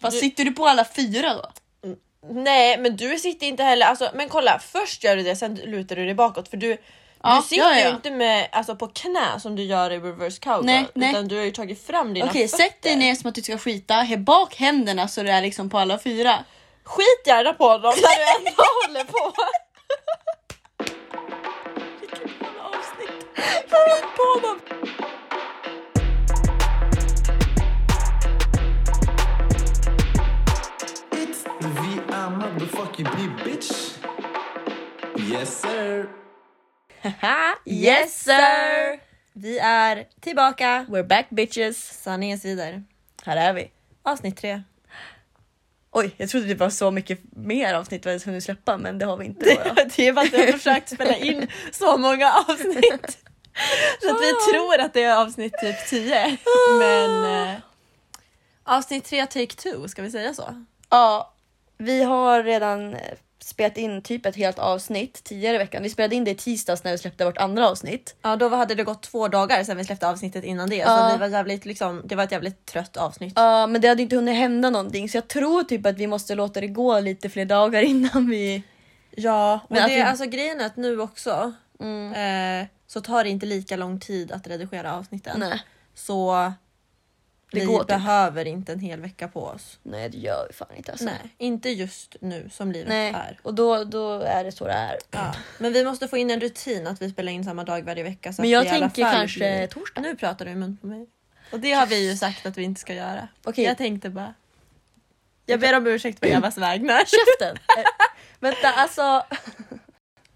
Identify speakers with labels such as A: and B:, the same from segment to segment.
A: Fast sitter du på alla fyra då?
B: Nej, men du sitter inte heller... Alltså, men kolla, först gör du det, sen lutar du dig bakåt. För du,
A: Ja,
B: du sitter
A: ja, ja.
B: ju inte med, alltså, på knä som du gör i reverse cowgirl.
A: Nej, nej.
B: utan du har ju tagit fram dina
A: Okej,
B: fötter.
A: sätt dig ner som att du ska skita. He bak händerna så du är liksom på alla fyra.
B: Skit gärna på dem när du ändå håller på. Skit på dem.
C: It's the VR motherfucking P, bitch. Yes, sir.
B: Yes sir! Vi är tillbaka.
A: We're back bitches.
B: Sanningens vidare.
A: Här är vi.
B: Avsnitt tre.
A: Oj, jag trodde det var så mycket mer avsnitt vi hade hunnit släppa, men det har vi inte. Det,
B: är bara att jag har försökt spela in så många avsnitt. Ah. Så att vi tror att det är avsnitt typ 10. Men eh, avsnitt 3 take 2, ska vi säga så?
A: Ja, vi har redan eh, spelat in typ ett helt avsnitt tidigare i veckan. Vi spelade in det i tisdags när vi släppte vårt andra avsnitt.
B: Ja då hade det gått två dagar sedan vi släppte avsnittet innan det.
A: Ja.
B: Så vi var jävligt, liksom, det var ett jävligt trött avsnitt.
A: Ja, men det hade inte hunnit hända någonting så jag tror typ att vi måste låta det gå lite fler dagar innan vi...
B: Ja, och
A: Men att
B: det,
A: vi- mm.
B: alltså, grejen är att nu också eh, så tar det inte lika lång tid att redigera avsnitten.
A: Nej,
B: Så
A: Det
B: vi
A: går typ.
B: behöver inte en hel vecka på oss.
A: nej det gör vi fan inte alltså.
B: Nej, inte just nu som livet
A: Nej,
B: är.
A: och då, då är det så det är.
B: Ja. Men vi måste få in en rutin att vi spelar in samma dag varje vecka. Så
A: Men
B: att
A: jag
B: det i alla
A: tänker
B: fall
A: kanske
B: blir-
A: torsdag.
B: Nu pratar du i mun på mig. Och det har vi ju sagt att vi inte ska göra.
A: Okej. Mm.
B: Jag tänkte bara. Jag ber om ursäkt på Evas vägnar.
A: Käften! Eh, Vänta alltså...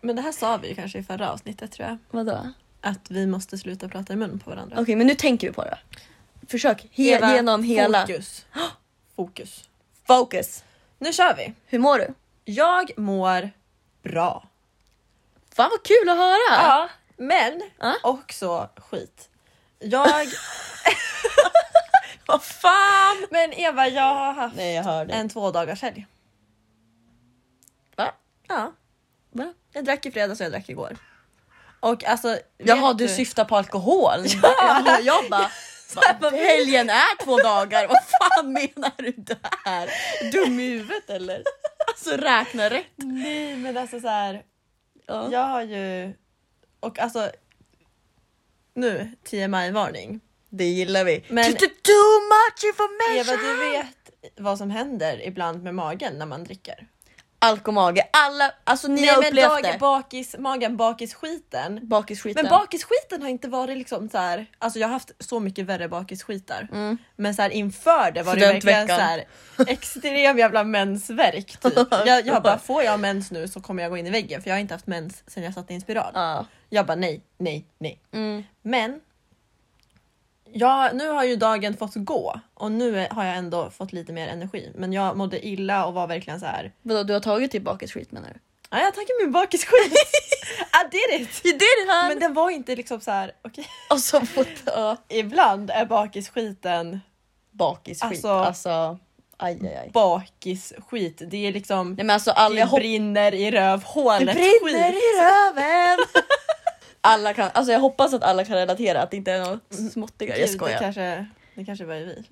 B: Men det här sa vi ju kanske i förra avsnittet tror jag.
A: Vadå?
B: Att vi måste sluta prata i mun på varandra.
A: Okej men nu tänker vi på det. Försök he-
B: Eva,
A: genom hela. Fokus.
B: Fokus. Fokus. Nu kör vi.
A: Hur mår du?
B: Jag mår bra.
A: Fan vad kul att höra!
B: Ja, men
A: Ja.
B: också skit. Jag... Vad fan! Men Eva, jag har haft
A: Nej jag hör
B: en två dagars helg.
A: Va?
B: Ja,
A: Va?
B: jag drack i fredags och jag drack igår. Och alltså...
A: Jaha
B: vet
A: du syftar på alkohol? Ja. Jag bara, bara helgen är två dagar, vad fan menar du där? Dum i huvudet eller? Alltså räkna rätt.
B: Nej, men alltså så här.
A: Ja.
B: Jag har ju... Och alltså... Nu, 10 maj-varning.
A: Det gillar vi.
B: Men-
A: Just too much information!
B: Eva, du vet vad som händer ibland med magen när man dricker.
A: Alkomage, alla, alltså ni har upplevt det.
B: bakis, magen, bakisskiten.
A: Bakisskiten.
B: Men bakisskiten har inte varit liksom så här. Alltså jag har haft så mycket värre bakisskitar. Men så här inför det var det ju verkligen så
A: Mm. Studentveckan.
B: här extrem jävla mensvärk typ. Jag, jag bara får jag mens nu så kommer jag gå in i väggen för jag har inte haft mens sen jag satte in spiral.
A: Ja.
B: Jag bara nej, nej, nej.
A: Mm.
B: Men ja, nu har ju dagen fått gå och nu är- har jag ändå fått lite mer energi. Men jag mådde illa och var verkligen så här.
A: Vadå, du har tagit till bakisskit menar du?
B: Ja, jag tackar min bakisskit. I did it!
A: You did it
B: Men den var inte liksom så här. okej.
A: Och så fått ja,
B: Ibland är bakisskiten
A: bakisskit. Alltså,
B: Alltså-
A: aj aj aj.
B: bakisskit. Det är liksom
A: Nej men alltså alla, jag
B: det
A: hopp-
B: brinner i rövhålet. skit.
A: i röven! alla kan, alltså jag hoppas att alla kan relatera, att det inte är något småttigare. Jag
B: Mm. Gud, Det
A: skojar.
B: kanske, det kanske bara är vi.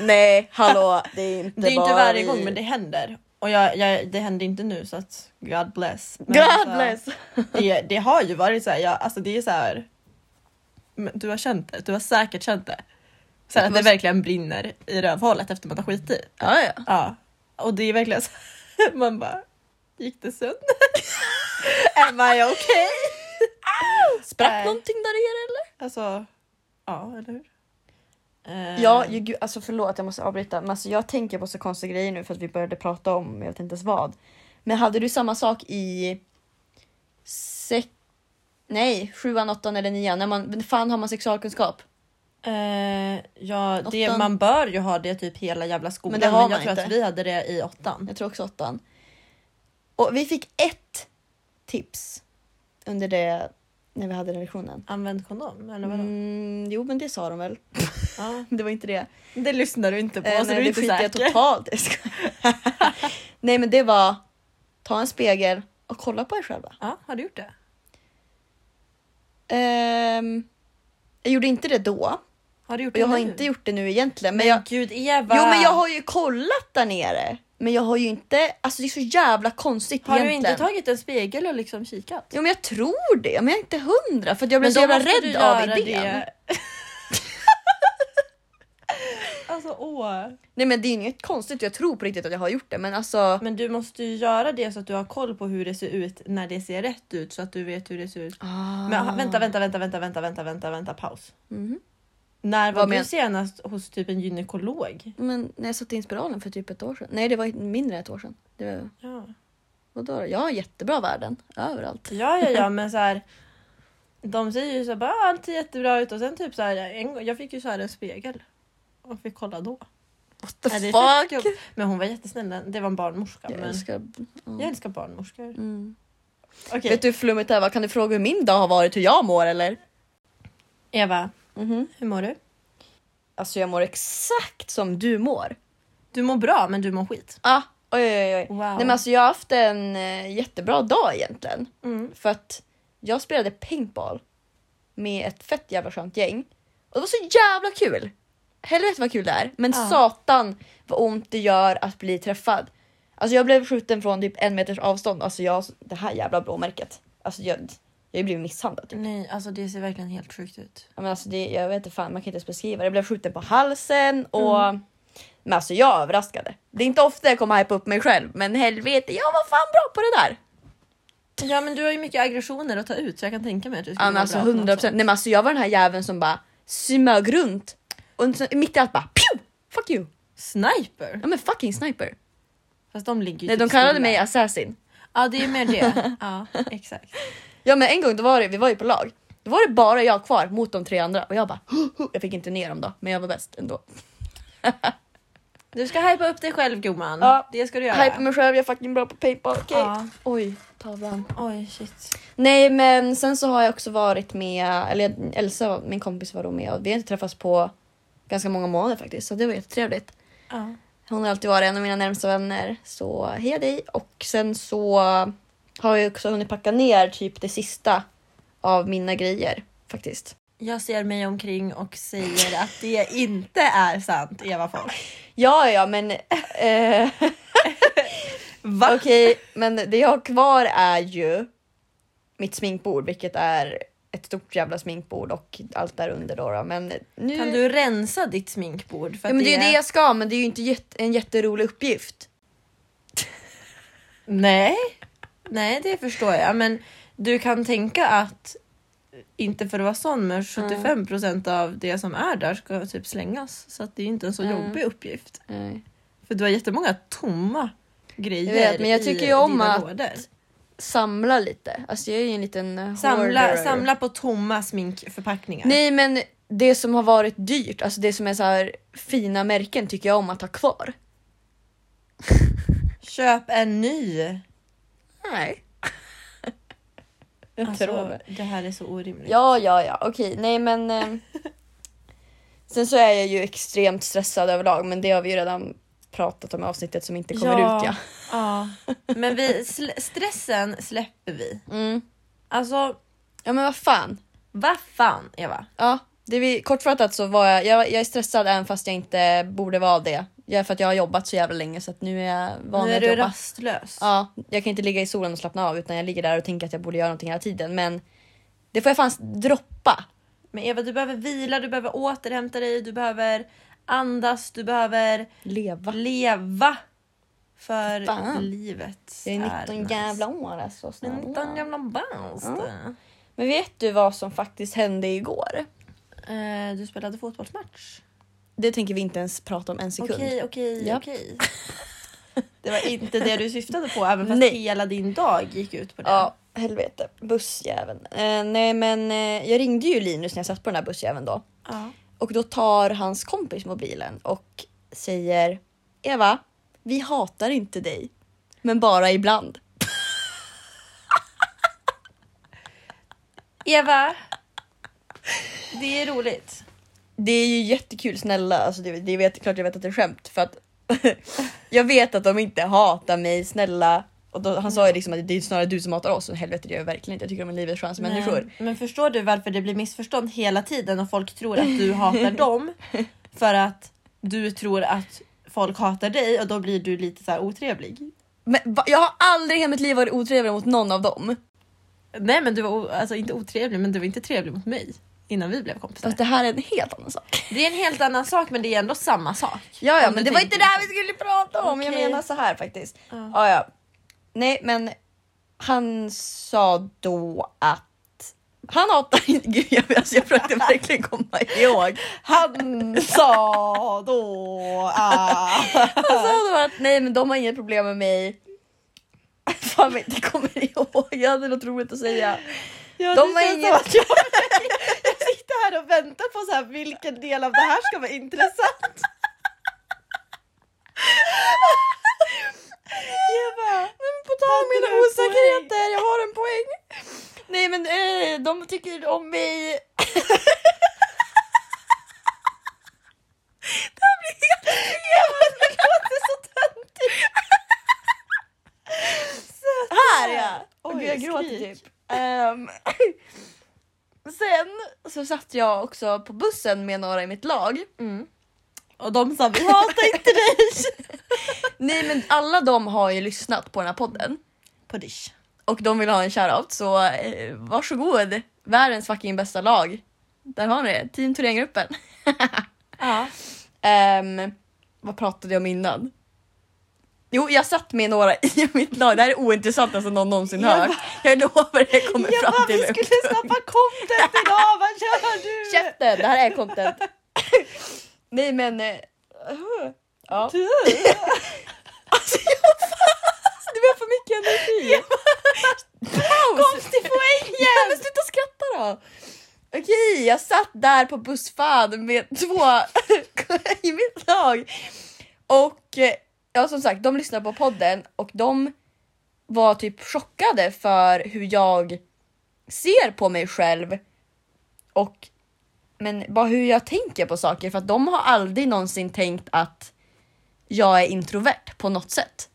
A: Nej, hallå, det är inte
B: Det är ju inte
A: bara
B: varje
A: vi.
B: gång men det händer. Och jag, jag, det händer inte nu så att God bless. Men
A: God
B: alltså,
A: bless!
B: Det, det har ju varit så här, jag, alltså det är så här. men Du har känt det, du har säkert känt det. Så här, att det verkligen brinner i rövhålet efter man har skitit.
A: Ja, ja.
B: Ja, och det är verkligen så här, man bara gick det sönder? Am I okay?
A: Sprack
B: Nej.
A: någonting där i eller?
B: Alltså, ja eller hur? Eh,
A: Ja, ju, gud, alltså förlåt jag måste avbryta men alltså jag tänker på så konstiga grejer nu för att vi började prata om jag vet inte ens vad. Men hade du samma sak i sex... Nej, sjuan, åttan eller nian? När man, men fan har man sexualkunskap?
B: eh, ja det,
A: Åttan.
B: man bör ju ha det typ hela jävla skolan.
A: Men
B: Men,
A: det har
B: jag
A: man
B: tror
A: inte.
B: att vi hade det i åttan.
A: Mm. Jag tror också åttan. Och vi fick ett tips under det när vi hade den lektionen.
B: Använd kondom eller vadå?
A: Mm, jo men det sa de väl.
B: Ja.
A: Det var inte det.
B: Det lyssnar du inte på
A: Eh,
B: så
A: nej,
B: du är
A: det
B: inte
A: skiter jag
B: säker.
A: totalt Jag skojar. Nej men det var ta en spegel och kolla på er själva.
B: Ja, har du gjort det?
A: Ehm, jag gjorde inte det då.
B: Har du gjort
A: Och
B: det
A: jag har
B: nu?
A: inte gjort det nu egentligen. Men
B: Men
A: jag,
B: gud Eva!
A: jo men jag har ju kollat där nere. Men jag har ju inte, alltså det är så jävla konstigt
B: Har du
A: egentligen.
B: inte tagit en spegel och liksom kikat?
A: Jo men jag tror det, men jag är inte hundra för att jag blev så
B: då
A: jävla
B: måste
A: rädd
B: du
A: av
B: göra
A: idén.
B: det. alltså åh.
A: Nej men det är ju inget konstigt, jag tror på riktigt att jag har gjort det men alltså.
B: Men du måste ju göra det så att du har koll på hur det ser ut när det ser rätt ut så att du vet hur det ser ut. Men
A: ah.
B: ha- vänta, vänta, vänta, vänta, vänta, vänta, vänta, vänta, paus.
A: Mhm.
B: När var
A: Vad
B: du
A: men-
B: senast hos typ en gynekolog?
A: Men när jag satte in spiralen för typ ett år sedan. Nej det var mindre än ett år sedan. Det var,
B: Ja,
A: vadå? Jag har jättebra värden överallt.
B: ja, ja, ja men så här. De säger ju så här, bara "Ah, allt ser jättebra ut och sen typ så här, en, gång- jag fick ju så här en spegel. Och fick kolla då.
A: What the
B: Nej, det är
A: fuck?
B: sjukt jobb. Men hon var jättesnäll, det var en barnmorska.
A: Jag
B: men...
A: älskar... Ja.
B: Jag älskar barnmorskor.
A: Mm.
B: Okej,
A: Vet du hur flummigt det här var? Kan du fråga hur min dag har varit, hur jag mår eller?
B: Eva,
A: Mhm.
B: hur mår du?
A: Alltså jag mår exakt som du mår.
B: Du mår bra men du mår skit.
A: Ah, oj, oj, oj.
B: Wow.
A: Nej, men alltså, jag har haft en eh, jättebra dag egentligen.
B: Mm.
A: För att jag spelade paintball med ett fett jävla skönt gäng. Och det var så jävla kul! Helvete vad kul det är. Men
B: Ja.
A: satan vad ont det gör att bli träffad. Alltså jag blev skjuten från typ en meters avstånd. Alltså jag, det här jävla blåmärket. Alltså jag, jag har ju blivit misshandlad. Typ.
B: Nej, alltså det ser verkligen helt sjukt ut.
A: Ja, Men alltså det, jag vet inte fan, man kan inte ens beskriva det. Jag blev skjuten på halsen och... Men alltså jag överraskade. Det är inte ofta jag kommer hypa upp mig själv men helvete jag var fan bra på det där.
B: Ja men du har ju mycket aggressioner att ta ut så jag kan tänka mig att du
A: Ja
B: skulle
A: men
B: må
A: alltså
B: bra på något
A: 100 procent. Nej men alltså jag var den här jäveln som bara smög runt och så, mitt i allt bara pju! Fuck you!
B: sätt. Sniper?
A: Ja men fucking sniper.
B: Fast de ligger ju
A: Nej de
B: typ
A: kallade
B: stilla.
A: mig assassin.
B: Ja det är mer det. ja exakt.
A: Ja men en gång då var det, vi var ju på lag. Då var det bara jag kvar mot de tre andra och jag bara "Huh, huh." jag fick inte ner dem då men jag var bäst ändå.
B: Du ska hypa upp dig själv gumman.
A: Ja.
B: Det ska du göra.
A: Hype mig själv, jag är fucking bra på paintball. Okej.
B: Ja.
A: Oj, tavlan.
B: Oj shit.
A: Nej men sen så har jag också varit med, eller Elsa min kompis var då med och vi har inte träffats på ganska många månader faktiskt så det var jättetrevligt.
B: Ja.
A: Hon har alltid varit en av mina närmsta vänner. Så hej dig. Och sen så har jag också hunnit packa ner typ det sista av mina grejer faktiskt.
B: Jag ser mig omkring och säger att det inte är sant Eva Fors.
A: Ja, ja, men eh,
B: Va?
A: okej, men det jag har kvar är ju mitt sminkbord, vilket är ett stort jävla sminkbord och allt där under då, då. Men nu.
B: Kan du rensa ditt sminkbord? För
A: ja, men det är ju det jag ska, men det är ju inte jätte, en jätterolig uppgift.
B: Nej. Nej, det förstår jag. Men du kan tänka att, inte för att vara sån, men 75 procent av det som är där ska typ slängas. Så att det är inte en så
A: Mm.
B: jobbig uppgift.
A: Nej.
B: För du har jättemånga tomma grejer
A: Jag vet, men jag tycker ju om
B: dina
A: att-
B: lådor.
A: Samla lite. Alltså jag är ju en liten eh,
B: Samla,
A: hoarder.
B: samla på tomma sminkförpackningar.
A: Nej men det som har varit dyrt, alltså det som är så här fina märken tycker jag om att ha kvar.
B: Köp en ny.
A: Nej.
B: Alltså, det här är så orimligt.
A: Ja, ja, ja, okej, nej men. ehm, sen så är jag ju extremt stressad överlag, men det har vi ju redan pratat om i avsnittet som inte kommer
B: Ja.
A: ut ja.
B: Ja. Men vi, sl- stressen släpper vi.
A: Mm.
B: Alltså,
A: Ja men vad fan.
B: vad fan Eva?
A: Ja, det vi, kortfattat så var jag, jag, jag är stressad även fast jag inte borde vara det. Jag, för att jag har jobbat så jävla länge så att nu är jag van vid
B: Nu är
A: att
B: du
A: jobba.
B: rastlös.
A: Ja, jag kan inte ligga i solen och slappna av utan jag ligger där och tänker att jag borde göra någonting hela tiden. Men det får jag fan droppa.
B: Men Eva, du behöver vila, du behöver återhämta dig, du behöver andas, du behöver
A: Leva.
B: leva. För
A: Fan.
B: livet
A: Jag är 19
B: nice.
A: jävla år alltså.
B: Jag är
A: snälla.
B: 19 jävla bast.
A: Men vet du vad som faktiskt hände igår?
B: Eh, du spelade fotbollsmatch.
A: Det tänker vi inte ens prata om en sekund.
B: Okej, okej,
A: Ja.
B: okej. Det var inte det du syftade på även fast
A: Nej.
B: hela din dag gick ut på det.
A: Ja, helvete. Bussjäveln. Eh, nej men eh, jag ringde ju Linus när jag satt på den här bussjäveln då.
B: Ja.
A: Och då tar hans kompis mobilen och säger Eva, vi hatar inte dig. Men bara ibland.
B: Eva, det är roligt.
A: Det är ju jättekul, snälla. Alltså, det, det vet, klart jag vet att det är skämt. För att jag vet att de inte hatar mig, snälla. Och Och då, han sa ju liksom att det är snarare du som hatar oss. Och helvete det gör jag verkligen inte. Jag tycker de är livets skönaste människor.
B: Nej. Men förstår du varför det blir missförstånd hela tiden och folk tror att du hatar dem för att du tror att folk hatar dig och då blir du lite så här otrevlig.
A: Men va, jag har aldrig i hela mitt liv varit otrevlig mot någon av dem.
B: Nej men du var o- alltså inte otrevlig men du var inte trevlig mot mig innan vi blev kompisar.
A: Fast det här är en helt annan sak.
B: Det är en helt annan sak men det är ändå samma sak.
A: Ja, ja
B: Om
A: men
B: du
A: det var
B: tänker
A: inte det här vi skulle prata om. Jag
B: Okej.
A: menar så här faktiskt.
B: Ja.
A: Ja, ja. Nej, men han sa då att han hatar inte... Gud, jag, alltså, jag försökte verkligen komma ihåg.
B: Han Mm. sa då ah.
A: Han sa då att nej, men de har inget problem med mig. Fan, men jag kommer ihåg. Jag hade något roligt att säga.
B: ja,
A: De
B: det
A: var
B: känns
A: inget-
B: som att jag, jag sitter här och väntar på så här, vilken del av det här ska vara intressant. Jag bara,
A: Men på tal om
B: Hade
A: mina
B: du en
A: osäkerheter, jag har en poäng. Nej men eh, de tycker om mig.
B: det låter så töntigt.
A: Här ja!
B: Oj,
A: Gud, jag gråter
B: skrik.
A: typ. Ehm, sen så satt jag också på bussen med några i mitt lag.
B: Och de sa vi hatar inte dig.
A: Nej men alla de har ju lyssnat på den här podden
B: På dish.
A: och de vill ha en shoutout så eh, varsågod. Världens fucking bästa lag. Där har ni det, Team Thorengruppen.
B: Ja.
A: Ehm, vad pratade jag om innan? Jo, jag satt med några i mitt lag. Det här är ointressantast som någon någonsin
B: Jag
A: hört. Jag lovar, jag kommer
B: Jag bara
A: fram
B: vi
A: till det.
B: skulle skapa content idag, vad gör du?
A: Käften, det här är content. Nej men... eh, Ja.
B: Du.
A: Alltså jag fan, det var för mycket energi.
B: Kom till poängen!
A: Ja, men sluta skratta då! Okej, jag satt där på bussfad med två i mitt lag. Och eh, ja, som sagt, de lyssnade på podden och de var typ chockade för hur jag ser på mig själv och men bara hur jag tänker på saker för att de har aldrig någonsin tänkt att jag är introvert på något sätt.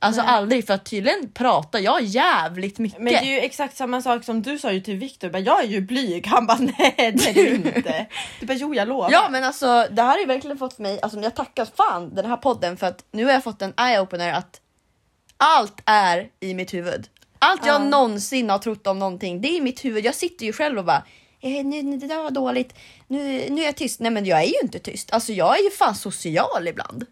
A: Alltså aldrig för att tydligen pratar jag jävligt mycket.
B: Men det är ju exakt samma sak som du sa ju till Viktor, bara, jag är ju blyg. Han bara nej det är du inte. Du bara jo jag lovar.
A: Ja men alltså det här har ju verkligen fått mig, alltså jag tackar fan den här podden för att nu har jag fått en eye-opener att allt är i mitt huvud. Allt jag någonsin har trott om någonting, det är i mitt huvud. Jag sitter ju själv och bara eh, nu, nu, det där var dåligt, nu, nu är jag tyst. Nej men jag är ju inte tyst. Alltså jag är ju fan social ibland.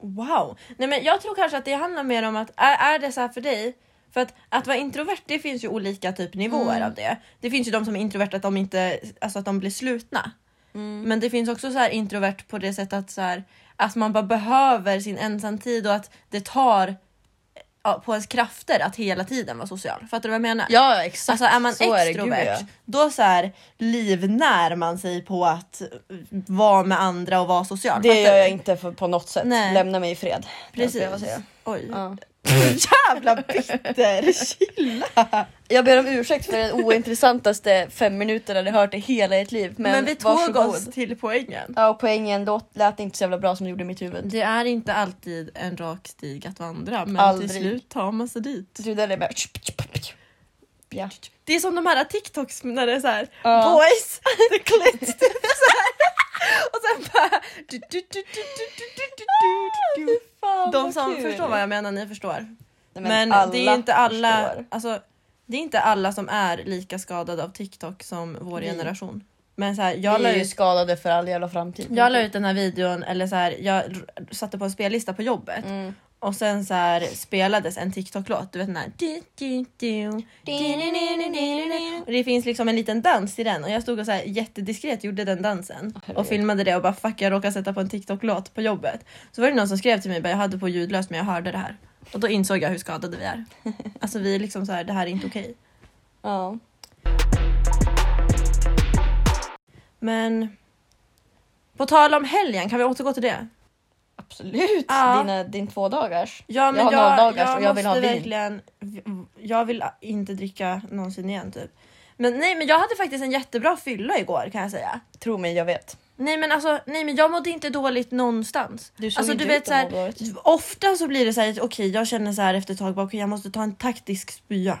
B: Wow! Nej men jag tror kanske att det handlar mer om att är, är det så här för dig? För att, att vara introvert det finns ju olika typ nivåer
A: Mm.
B: av det. Det finns ju de som är introverta att de inte, alltså att de blir slutna.
A: Mm.
B: Men det finns också så här introvert på det sättet att, så här, att man bara behöver sin ensamtid och att det tar ja, på ens krafter att hela tiden vara social. Fattar du vad jag menar?
A: Ja exakt.
B: Alltså är man
A: Så är det,
B: extrovert
A: gud, ja.
B: då så här livnär man sig på att eh, vara med andra och vara social.
A: Det
B: Fattar
A: gör
B: du?
A: jag inte för, på något sätt.
B: Nej.
A: Lämna mig i fred. Det är
B: Precis.
A: vad jag säger.
B: Oj.
A: Ja.
B: Jävla bitter! Chilla!
A: Jag ber om ursäkt för den ointressantaste fem minuterna ni hört i hela ert liv. Men,
B: Men, vi tog
A: varsågod.
B: oss till poängen.
A: Ja, och poängen låt, lät inte så jävla bra som det gjorde i mitt huvud.
B: Det är inte alltid en rak stig att vandra men
A: Aldrig.
B: till slut tar man sig dit.
A: Så där är det bara... Ja.
B: Det är som de här TikToks när det är såhär
A: Ja.
B: boys, the clit. typ så här. Och sen bara... Du, du, du, du, du, du, du, du, du, du. De som förstår vad jag menar, ni förstår. Men, det är ju inte alla,
A: förstår.
B: alltså, det är inte alla som är lika skadade av TikTok som vår
A: Vi.
B: generation. Men så här, jag
A: Vi
B: la
A: är ju
B: ut,
A: skadade för all jävla framtid.
B: jag la ut den här videon, eller så här, jag r- satte på en spellista på jobbet
A: Mm.
B: och sen så här, spelades en TikTok-låt. Du vet den här. Du, du, du. Och det finns liksom en liten dans i den och jag stod och så här, jättediskret gjorde den dansen och
A: herregud.
B: filmade det och bara fuck jag råkade sätta på en TikTok-låt på jobbet. Så var det någon som skrev till mig bara jag hade på ljudlöst men jag hörde det här. Och då insåg jag hur skadade vi är. Alltså vi är liksom så här, det här är inte okej.
A: Ja.
B: Men på tal om helgen, kan vi återgå till det?
A: Absolut!
B: Ja.
A: Dina, din två dagars.
B: Ja,
A: Jag har nolldagars och jag vill
B: måste
A: ha vin.
B: Verkligen, jag vill inte dricka någonsin igen typ. Men nej, men jag hade faktiskt en jättebra fylla igår kan jag säga.
A: Tro mig, jag vet.
B: Nej men alltså, nej men jag mådde inte dåligt någonstans.
A: Du såg
B: alltså
A: inte
B: du
A: ut
B: vet
A: att
B: så
A: må
B: här,
A: dåligt.
B: ofta så blir det så här, okej jag känner så här efter ett tag, bara, okej jag måste ta en taktisk spya.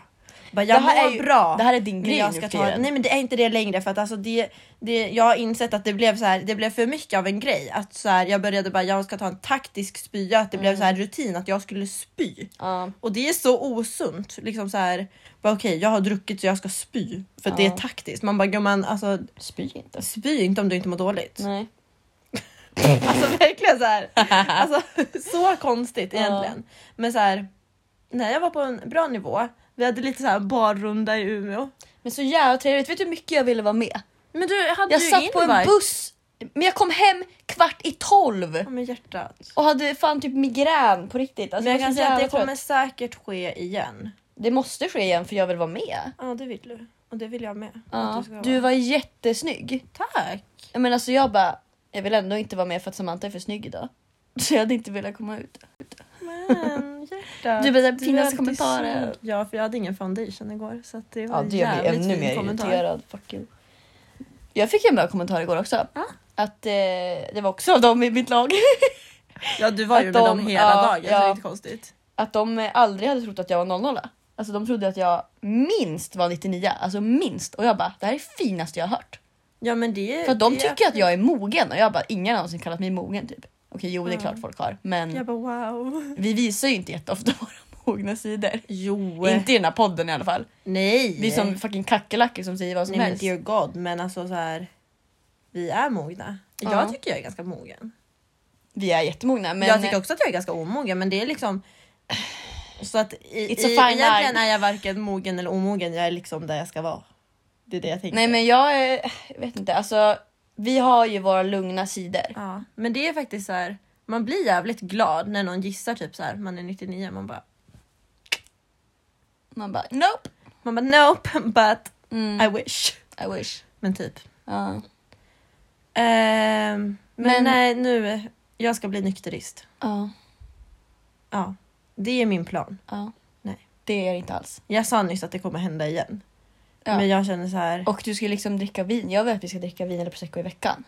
B: Bara,
A: Det
B: jag
A: här
B: mår
A: är ju-
B: bra.
A: det här är din
B: men
A: grej
B: jag
A: nu
B: ska
A: för
B: ta,
A: tiden.
B: Nej men det är inte det längre för att alltså det, det, jag har insett att det blev så här, det blev för mycket av en grej. Att så här, jag började bara, jag ska ta en taktisk spya, att det blev så
A: Mm.
B: här rutin att jag skulle spy.
A: Ja.
B: Och det är så osunt. Liksom så här, bara okej jag har druckit så jag ska spy. För att det
A: Ja.
B: är taktiskt. Man bara gumman alltså
A: Spy inte.
B: spy inte om du inte mår dåligt.
A: Nej.
B: Alltså verkligen så här. Alltså, så konstigt
A: Ja.
B: egentligen. Men så här, när jag var på en bra nivå, vi hade lite så här barrunda i Umeå.
A: Men så jävla trevligt. Vet du hur mycket jag ville vara med?
B: Men du, hade
A: Jag
B: du
A: satt på en
B: invite?
A: buss. Men jag kom hem kvart i tolv
B: Ja, men hjärtat.
A: och hade fan typ migrän på riktigt. Alltså,
B: men jag
A: var
B: kan
A: så
B: säga att
A: jävla
B: det kommer
A: trött.
B: säkert ske igen.
A: det måste ske igen för jag vill vara med.
B: Ja, det vill du. Och det vill jag med. Att
A: Ja.
B: ska
A: Du
B: vara-
A: var jättesnygg.
B: Tack!
A: Ja, Men alltså jag bara, jag vill ändå inte vara med för att Samantha är för snygg idag. Så jag hade inte velat komma ut.
B: Men hjärtat.
A: Du bara,
B: är
A: finnas
B: alltid
A: kommentarer.
B: snygg. Ja, för jag hade ingen foundation igår. Så att det var
A: Ja det gör mig
B: jävligt
A: ännu
B: fin
A: mer
B: kommentar.
A: irriterad. Fuck you. Jag fick en bra kommentar igår också. Att eh, det var också av dem i mitt lag.
B: Ja, du var ju
A: Att
B: med
A: de-
B: dem hela
A: ja,
B: dagen. Så det
A: ja.
B: är inte konstigt.
A: Att de eh, aldrig hade trott att jag var 00. Alltså de trodde att jag minst var 99. Alltså minst. Och jag bara, det här är det finaste jag har hört.
B: Ja, men det
A: För att de
B: det-
A: tycker att jag är mogen och jag bara, ingen har någonsin kallat mig mogen typ. Okej jo det är
B: Ja.
A: klart folk har. Men
B: Jag bara wow.
A: vi visar ju inte jätteofta våra mogna sidor.
B: Jo.
A: Inte i den här podden i alla fall.
B: nej.
A: Vi är som fucking kackerlackor som säger vad som
B: nej men
A: helst.
B: dear god. Men alltså så här. Vi är mogna.
A: Ja.
B: Jag tycker jag är ganska mogen.
A: Vi är jättemogna men...
B: jag tycker också att jag är ganska omogen men det är liksom. Så att i,
A: It's
B: i,
A: a fine
B: egentligen
A: line.
B: är jag varken mogen eller omogen. Jag är liksom där jag ska vara. Det är det jag tänker.
A: Nej men jag är, jag vet inte, alltså vi har ju våra lugna sidor.
B: Ja, men det är faktiskt så här. Man blir jävligt glad när någon gissar typ så här. Man är 99 man bara.
A: Man bara nope,
B: Man bara nope but
A: Mm.
B: I wish.
A: I wish.
B: Men typ.
A: Ja.
B: Ehm, men,
A: Men-
B: nej nu. Jag ska bli nykterist.
A: Ja,
B: Ja. Det är min plan.
A: ja.
B: Nej.
A: Det är det inte alls.
B: Jag sa nyss att det kommer hända igen.
A: Ja.
B: Men jag känner så här.
A: Och du ska ju liksom dricka vin. Jag vet att vi ska dricka vin eller prosecco i veckan.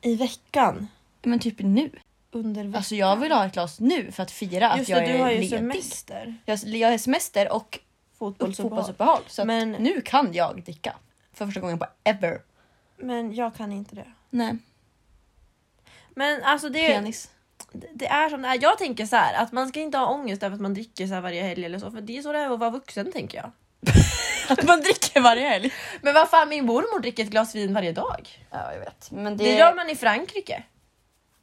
B: I veckan.
A: Men typ nu.
B: Under veckan.
A: Alltså jag vill ha ett glas nu för att fira
B: Just
A: att
B: det,
A: jag
B: du
A: är
B: har ju
A: ledig.
B: semester.
A: Jag, jag har semester och
B: Fotbollsuppehåll.
A: fotbollsuppehåll. Så att
B: Men-
A: nu kan jag dricka. För första gången på ever.
B: Men jag kan inte det.
A: Nej,
B: Men alltså det,
A: penis.
B: det är som det är. Jag tänker så här att man ska inte ha ångest över att man dricker så här varje helg eller så. För det är så det är att vara vuxen tänker jag.
A: Att man dricker varje helg.
B: Men vad fan min mormor dricker ett glas vin varje dag.
A: Ja jag vet. Men
B: Det,
A: det,
B: gör man i Frankrike.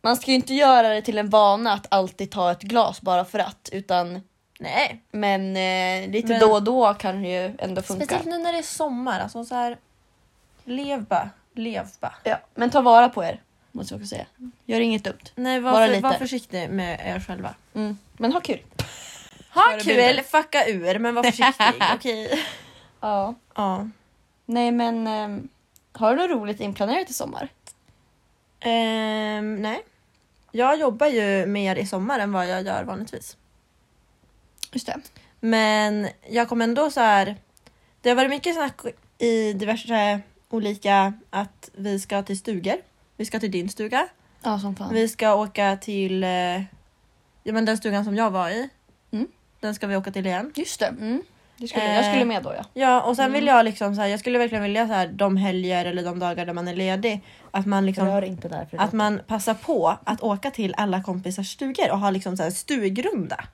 A: Man ska ju inte göra det till en vana att alltid ta ett glas bara för att. Utan,
B: Nej.
A: men eh, lite
B: Men-
A: då och då kan det ju ändå funka.
B: Speciellt nu när det är sommar. Alltså så här. Lev bara. Lev bara.
A: Ja, men ta vara på er, måste jag också säga. Gör inget dumt.
B: Nej
A: Bara
B: var, för, var
A: lite.
B: försiktig med er själva.
A: Mm. Men ha kul.
B: Ha
A: Förebilder.
B: kul, fucka ur men var försiktig. Okej.
A: Ja.
B: Ja.
A: Nej men, ehm, har du något roligt inplanerat i sommar?
B: Ehm, nej. Jag jobbar ju mer i sommar än vad jag gör vanligtvis.
A: Just det.
B: Men jag kommer ändå så här. Det har varit mycket snack i diverse olika att vi ska till stugor. Vi ska till din stuga.
A: Ja som fan.
B: Vi ska åka till eh, ja, men den stugan som jag var i.
A: Mm.
B: Den ska vi åka till igen.
A: Just det. Mm. Det skulle, Jag skulle
B: Eh.
A: med då ja.
B: Ja och sen
A: Mm.
B: vill jag liksom så här, jag skulle verkligen vilja så här de helger eller de dagar där man är ledig att man liksom
A: Rör inte där. För
B: Att man passar på att åka till alla kompisars stugor och ha liksom så här stugrunda.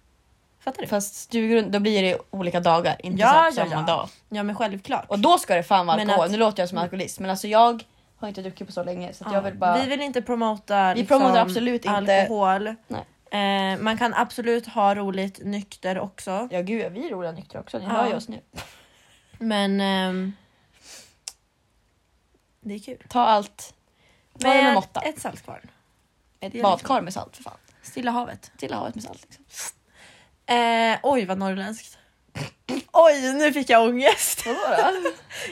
B: Fattar du?
A: Fast stugrund, då blir det olika dagar, inte
B: Ja,
A: så här på
B: ja,
A: samma
B: ja.
A: dag.
B: Ja men självklart.
A: Och då ska det fan vara
B: Men
A: alkohol.
B: att-
A: Nu låter jag som alkoholist men alltså jag har inte druckit på så länge så att jag
B: Ja.
A: vill bara...
B: Vi vill inte promota liksom
A: Vi promotar absolut inte-
B: alkohol.
A: Nej.
B: Eh, man kan absolut ha roligt nykter också.
A: Ja gud, vi är roliga nyktra också. Ni
B: Ja.
A: hör ju oss nu.
B: Men ehm, det är kul.
A: Ta allt. Ta det med måtta.
B: ett saltkvarn. det
A: Ett
B: är
A: badkar med salt för fan.
B: Stilla havet.
A: Stilla havet med salt. Liksom.
B: Eh, oj vad norrländskt. oj nu fick jag ångest.
A: Vadå då?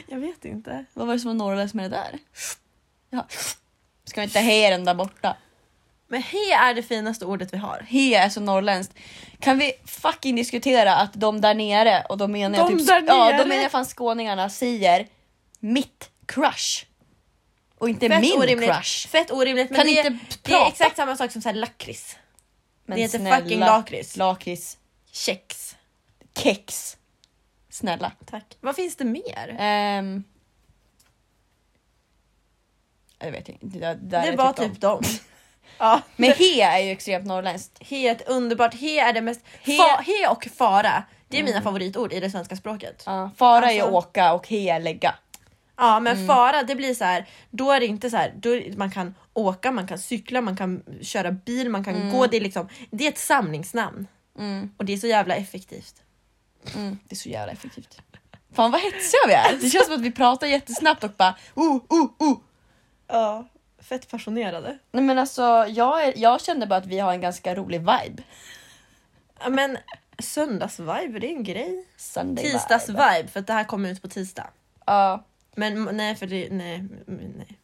B: jag vet inte.
A: Vad var det som var norrländskt med det där? Ja. Ska vi inte he den där borta?
B: Men he är det finaste ordet vi har.
A: He är så norrländskt. Kan vi fucking diskutera att de där nere, och då menar jag
B: De
A: typ
B: där
A: Ja,
B: nere?
A: då menar jag fan skåningarna säger mitt crush. Och inte
B: Fett
A: min
B: orimligt.
A: crush.
B: Fett orimligt. Men
A: Kan
B: det,
A: inte
B: det är
A: prata.
B: exakt samma sak som så här lakrits.
A: Men
B: Det heter
A: snälla,
B: fucking lakrits.
A: Lakrits.
B: Kex.
A: Kex. Snälla.
B: Tack. Vad finns det mer?
A: Ehm. jag vet inte. Det, där- där
B: Det
A: är
B: var
A: dem.
B: typ dem. ja.
A: Men he är ju extremt norrländskt.
B: He är ett underbart. He är det mest...
A: He- Mm.
B: He, fa, he och fara. Det är mina favoritord i det svenska språket.
A: Ja, fara är
B: Alltså-
A: åka och he är lägga.
B: Ja men fara det blir så här. Då är det inte så här. Då är det, man kan åka, man kan cykla, man kan köra bil, man kan gå. Det är, liksom, det är ett samlingsnamn. Och det är så jävla effektivt.
A: Det är så jävla effektivt. Fan vad hetsiga vi är. Det känns som att vi pratar jättesnabbt och bara oh, oh, oh.
B: Ja, fett passionerade.
A: Nej men alltså jag, är, jag känner bara att vi har en ganska rolig vibe.
B: Ja, Men söndagsvibe, det är en grej.
A: Sunday vibe.
B: Tisdagsvibe, för att det här kommer ut på tisdag.
A: Ja,
B: Men m- nej, för det... Nej. m- nej.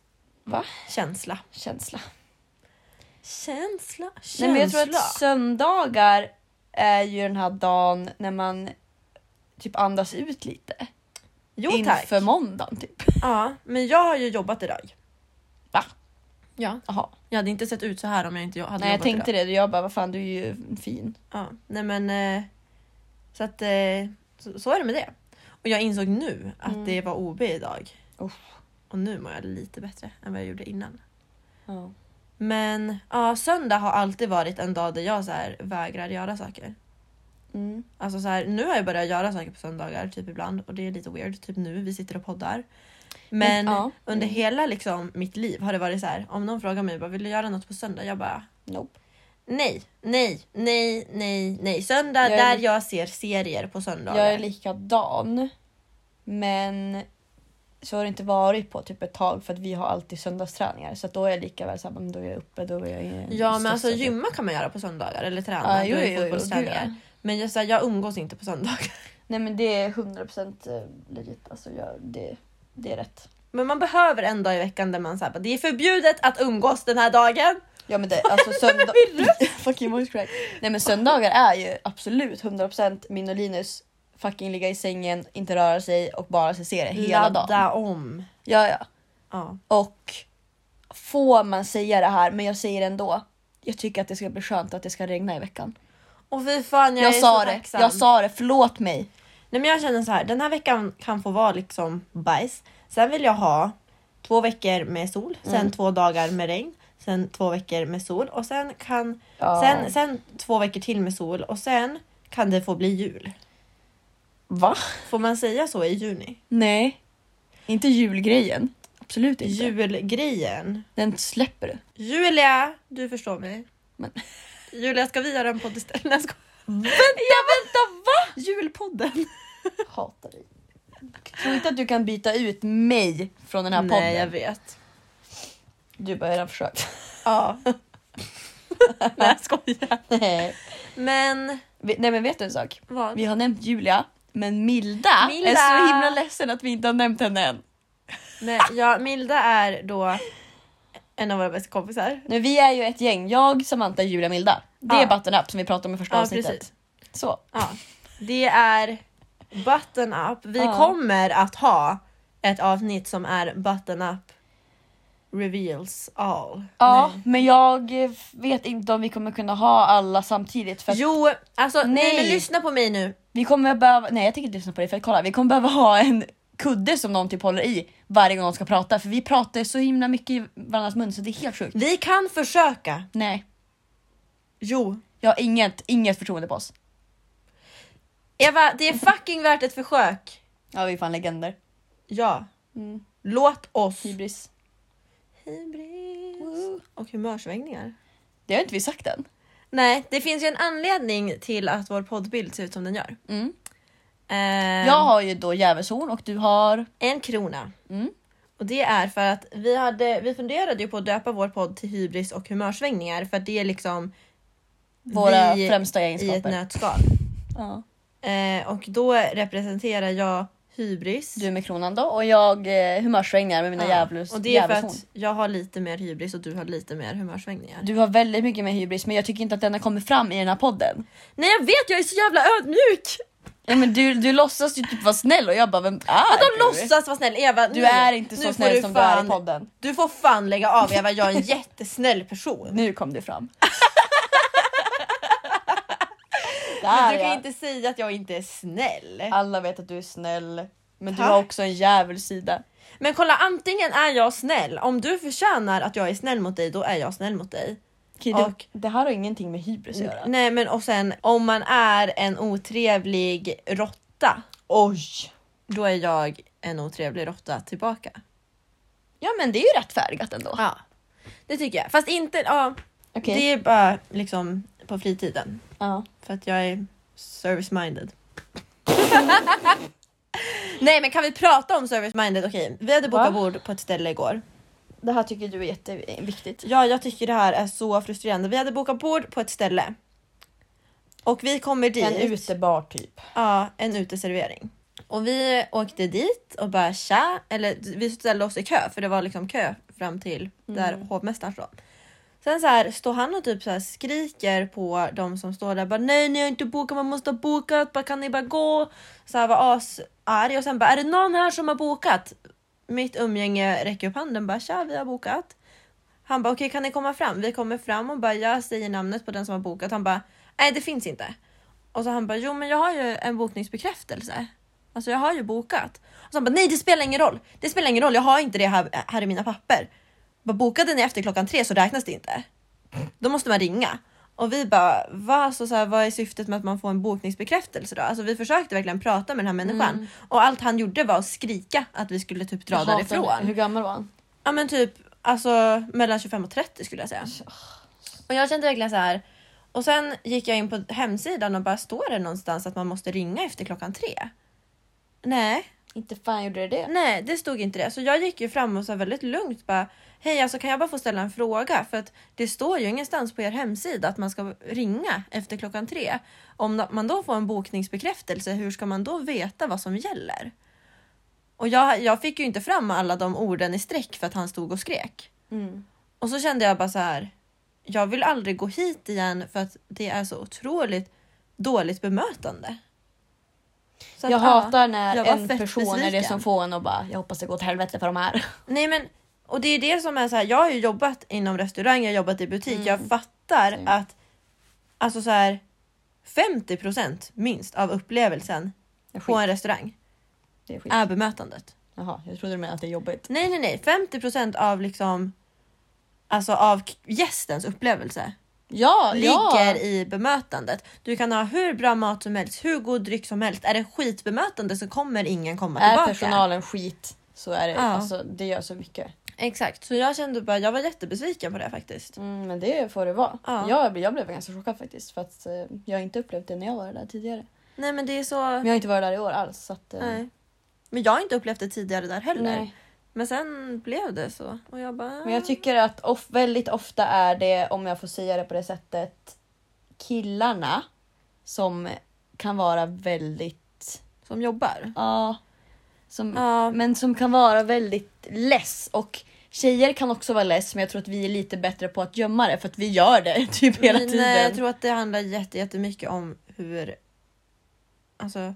A: va?
B: Känsla.
A: Känsla.
B: Känsla. Känsla.
A: Nej men jag tror att söndagar är ju den här dagen när man typ andas ut lite.
B: jo tack.
A: inför måndagen typ.
B: Ja, men jag har ju jobbat idag.
A: Va?
B: Ja.
A: Jaha.
B: Jag hade inte sett ut så här om jag inte jo- hade
A: Nej jag
B: jobbat
A: tänkte
B: idag.
A: det. Jag bara vad fan du är ju fin.
B: Ja, nej men... eh, Så att... eh, Så, så är det med det. Och jag insåg nu att det var OB idag.
A: Mm. Uff.
B: Och nu mår jag lite bättre än vad jag gjorde innan.
A: Ja.
B: Men ja, söndag har alltid varit en dag där jag så här vägrar göra saker.
A: Mm.
B: Alltså så här, nu har jag börjat göra saker på söndagar typ ibland och det är lite weird. Typ nu, vi sitter och poddar. Men
A: Men, ja. Mm.
B: under hela liksom, mitt liv har det varit så här, om någon frågar mig bara, vill du göra något på söndag? Jag bara
A: Nope.
B: nej, nej, nej, nej, nej. Söndag
A: Jag är
B: där
A: li-
B: jag ser serier på söndagar.
A: Jag är likadan. Men så har det inte varit på typ ett tag för att vi har alltid söndagsträningar. Så att då är jag lika väl såhär, men då är jag uppe, då är jag ingen
B: ja men alltså
A: stressad.
B: gymma kan man göra på söndagar eller
A: Ja,
B: träna. då
A: jo,
B: är det
A: jo, jo,
B: fotbollsträningar.
A: gud,
B: Men jag, så här, jag umgås inte på söndagar.
A: Nej men det är 100% legit. Alltså jag, det, det är rätt.
B: Men man behöver en dag i veckan där man säger det är förbjudet att umgås den här dagen.
A: Ja men det, alltså söndag... fucking voice crack. Nej men söndagar är ju absolut 100% min och Linus fucking ligga i sängen, inte röra sig och bara se serier hela
B: Ladda
A: dagen.
B: om.
A: Ja ja.
B: Ja.
A: Och får man säga det här, men jag säger det ändå. Jag tycker att det ska bli skönt att det ska regna i veckan.
B: Och fy fan jag,
A: Jag,
B: är
A: sa
B: så
A: det,
B: tacksam.
A: jag sa det, förlåt mig.
B: Nej men jag känner så här, den här veckan kan få vara liksom bajs. Sen vill jag ha två veckor med sol, sen två dagar med regn, sen två veckor med sol och sen kan
A: Ja.
B: sen, sen två veckor till med sol och sen kan det få bli jul.
A: Va?
B: Får man säga så i juni?
A: Nej. Inte julgrejen. Absolut inte.
B: Julgrejen.
A: Den släpper du.
B: Julia, du förstår mig.
A: Men-
B: Julia, ska vi göra en podd istället? Nej, jag skojar.
A: Jag vänta, va?
B: Julpodden.
A: Hatar dig. Tror inte att du kan byta ut mig från den här
B: Nej,
A: podden.
B: jag vet.
A: Du bara, jag har redan försökt.
B: Ja. Nej, jag skojar.
A: Nej.
B: Men
A: Vi- Nej men vet du en sak?
B: vad?
A: Vi har nämnt Julia, men Milda,
B: Milda!
A: är så himla ledsen att vi inte har nämnt henne än.
B: Nej, ja, Milda är då en av våra bästa kompisar.
A: Nu, vi är ju ett gäng, jag, Samantha, Julia, Milda. Det är
B: Ja.
A: button up som vi pratade om i första
B: Ja,
A: avsnittet.
B: precis.
A: Så.
B: Ja. Det är button up. Vi
A: Ja.
B: kommer att ha ett avsnitt som är button up reveals all.
A: Ja, men jag eh, vet inte om vi kommer kunna ha alla samtidigt. För att
B: Jo, alltså nej.
A: Nej.
B: men lyssna på mig nu.
A: vi kommer behöva, nej jag tänker inte lyssna på det för att kolla, vi kommer behöva ha en kudde som någon typ håller i varje gång de ska prata. För vi pratar så himla mycket i varandras mun så det är helt sjukt.
B: Vi kan försöka.
A: Nej,
B: Jo.
A: jag har inget, inget förtroende på oss.
B: Eva, det är fucking värt ett försök.
A: Ja vi är fan legender.
B: Ja.
A: Mm.
B: Låt oss.
A: Hybris.
B: Hybris. Och humörsvängningar.
A: Det har inte vi sagt än.
B: Nej, det finns ju en anledning till att vår poddbild ser ut som den gör.
A: Mm.
B: Ehm,
A: Jag har ju då djävulshorn och du har...
B: En krona.
A: Mm.
B: Och det är för att vi, hade, vi funderade ju på att döpa vår podd till hybris och humörsvängningar för att det är liksom
A: Våra
B: vi
A: främsta
B: i ett
A: egenskaper.
B: nötskal.
A: ja.
B: Eh, och då representerar jag hybris.
A: Du med kronan då och jag eh, humörsvängningar med mina
B: Ja.
A: djävuls,
B: Och det är för
A: djävulshorn.
B: att jag har lite mer hybris och du har lite mer humörsvängningar.
A: Du har väldigt mycket med hybris men jag tycker inte att den har kommit fram i den här podden.
B: Nej jag vet, jag är så jävla ödmjuk!
A: Ja, men du, du låtsas ju typ vara snäll och jag bara vem är
B: De
A: du?
B: låtsas vara snäll. Eva,
A: Du
B: nu-
A: är inte så
B: nu får
A: snäll som du är i
B: fan-
A: podden.
B: Du får fan lägga av Eva, jag är en jättesnäll person.
A: Nu kom det fram.
B: Men
A: Där
B: du kan
A: ja.
B: inte säga att jag inte är snäll.
A: Alla vet att du är snäll. Men du
B: Tack.
A: har också en djävulsida.
B: Men kolla, antingen är jag snäll. Om du förtjänar att jag är snäll mot dig, då är jag snäll mot dig.
A: Okej, det,
B: Och-
A: det här har ingenting med hybris att göra.
B: Nej men och sen om man är en otrevlig råtta,
A: Oj!
B: då är jag en otrevlig råtta tillbaka.
A: Ja men det är ju rättfärdigat ändå.
B: Ja, det tycker jag. Fast inte, ja,
A: Okej.
B: det är bara liksom på fritiden.
A: Ja.
B: För att jag är service-minded. Nej men kan vi prata om service-minded? Okej, vi hade bokat
A: Va?
B: bord på ett ställe igår.
A: Det här tycker du är jätteviktigt.
B: Ja, jag tycker det här är så frustrerande. Vi hade bokat bord på ett ställe. Och vi kommer dit.
A: En utebar typ.
B: Ja, en uteservering. Och vi åkte dit och bara tja, eller vi ställde oss i kö för det var liksom kö fram till där hovmästaren stod. Sen så här, står han och typ så här skriker på de som står där bara nej ni har inte bokat, man måste ha bokat, bara, kan ni bara gå? Så här var asarg och sen bara är det någon här som har bokat? Mitt umgänge räcker upp handen bara tja vi har bokat. Han bara okej kan ni komma fram? Vi kommer fram och bara jag säger namnet på den som har bokat. Han bara nej det finns inte. Och så han bara, jo men jag har ju en bokningsbekräftelse. Alltså jag har ju bokat. Och så han bara, nej det spelar ingen roll. Det spelar ingen roll, jag har inte det här, här i mina papper. Bara, bokade ni efter klockan tre så räknas det inte. Då måste man ringa. Och vi bara, va? Alltså, Så så här, vad är syftet med att man får en bokningsbekräftelse då? Alltså vi försökte verkligen prata med den här människan. Och allt han gjorde var att skrika att vi skulle typ dra
A: Mm. Jag hatar
B: därifrån.
A: det. Hur gammal var han?
B: Ja men typ alltså mellan 25 och 30 skulle jag säga. Och jag kände verkligen så här. Och sen gick jag in på hemsidan och bara står det någonstans att man måste ringa efter klockan tre? Nej,
A: Inte fan gjorde det det.
B: nej det stod inte det. Så jag gick ju fram och sa väldigt lugnt bara Hej alltså kan jag bara få ställa en fråga? För att det står ju ingenstans på er hemsida att man ska ringa efter klockan tre. Om man då får en bokningsbekräftelse, hur ska man då veta vad som gäller? Och jag, jag fick ju inte fram alla de orden i sträck för att han stod och skrek.
A: Mm.
B: Och så kände jag bara så här. Jag vill aldrig gå hit igen för att det är så otroligt dåligt bemötande. Så att,
A: Jag
B: ja.
A: hatar när
B: jag var
A: en
B: fett
A: person är det
B: besviken.
A: som får en att bara jag hoppas det går åt helvete för de här.
B: Nej men, och det är det som är så här. Jag har ju jobbat inom restaurang, jag har jobbat i butik. Jag fattar
A: Mm. Same.
B: att alltså så här 50 minst av upplevelsen på en restaurang
A: Det är skit.
B: är bemötandet.
A: Jaha, jag trodde du menade att det är jobbigt.
B: Nej nej nej, 50 av liksom alltså av k- gästens upplevelse
A: Ja,
B: ligger
A: ja.
B: i bemötandet. Du kan ha hur bra mat som helst, hur god dryck som helst. Är det skitbemötande så kommer ingen komma
A: Är
B: tillbaka.
A: personalen skit så är det,
B: Ja.
A: alltså, det gör så mycket.
B: Exakt, så jag kände bara, jag var jättebesviken på det faktiskt.
A: Mm, men det får det vara.
B: Ja.
A: Jag, jag blev ganska chockad faktiskt för att eh, jag har inte upplevt det när jag var där tidigare.
B: Nej men det är så...
A: Men jag har inte varit där i år alls. Så att, eh,
B: Nej. Men jag har inte upplevt det tidigare där heller.
A: nej.
B: Men sen blev det så. Och jag bara...
A: Men jag tycker att of, väldigt ofta är det, om jag får säga det på det sättet, killarna som kan vara väldigt...
B: Som jobbar. Mm.
A: Ja. som,
B: Ja.
A: Men som kan vara väldigt less. Och tjejer kan också vara less men jag tror att vi är lite bättre på att gömma det för att vi gör det typ hela
B: Men, eh,
A: tiden.
B: Jag tror att det handlar jätte, jättemycket om hur alltså,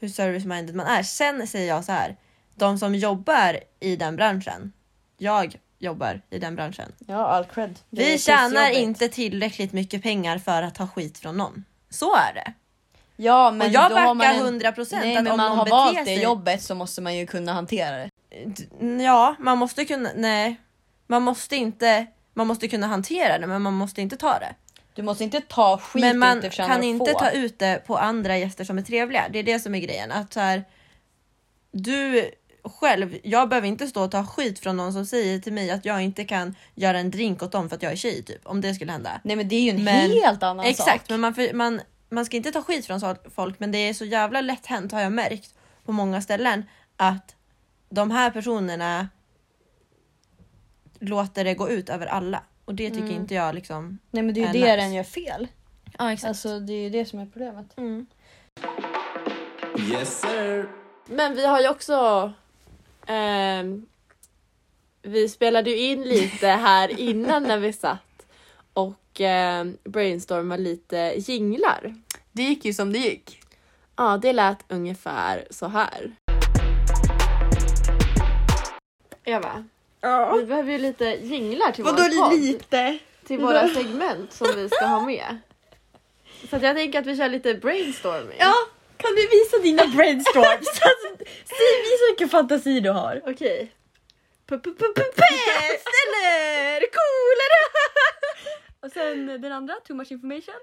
B: hur service-minded man är. Sen säger jag så här. De som jobbar i den branschen. Jag jobbar i den branschen.
A: Ja, all cred. Det är
B: Vi
A: pissjobbigt.
B: tjänar inte tillräckligt mycket pengar för att ta skit från någon. Så är det.
A: Ja, men
B: och jag
A: då har man en-
B: backar 100 procent
A: Nej
B: att
A: men
B: om
A: man
B: någon
A: har
B: beter
A: valt det
B: sig...
A: jobbet så måste man ju kunna hantera det.
B: D- Ja, man måste kunna... Nej. Man måste inte... Man måste kunna hantera det men man måste inte ta det.
A: Du måste inte ta skit
B: Men
A: du
B: man
A: inte förtjänar
B: kan
A: att
B: inte
A: få.
B: ta ut det på andra gäster som är trevliga. Det är det som är grejen. Att så här, du själv, jag behöver inte stå och ta skit från någon som säger till mig att jag inte kan göra en drink åt dem för att jag är tjej typ. Om det skulle hända.
A: Nej men det är ju en
B: Men-
A: helt annan sak.
B: Exakt, men man, för- man, man ska inte ta skit från så- folk men det är så jävla lätt hänt har jag märkt på många ställen att de här personerna låter det gå ut över alla. Och det tycker inte jag liksom...
A: Nej men det är ju
B: är
A: det
B: nice.
A: den gör fel.
B: Ja exakt.
A: Alltså det är ju det som är problemet.
C: Yes sir.
D: Men vi har ju också... ehm, vi spelade ju in lite här innan när vi satt och ehm, brainstormade lite jinglar.
E: Det gick ju som det gick.
B: Ja, det lät ungefär så här. Eva,
A: Ja.
B: vi behöver ju lite jinglar till vår
A: Vadå
B: podd.
A: lite?
B: till våra segment som vi ska ha med. Så att jag tänker att vi kör lite brainstorming.
A: Ja, kan du visa dina brainstorms? alltså, säg, visa vilken fantasi du har.
B: Okej.
A: Pest eller kolera? Och sen den andra, too much information.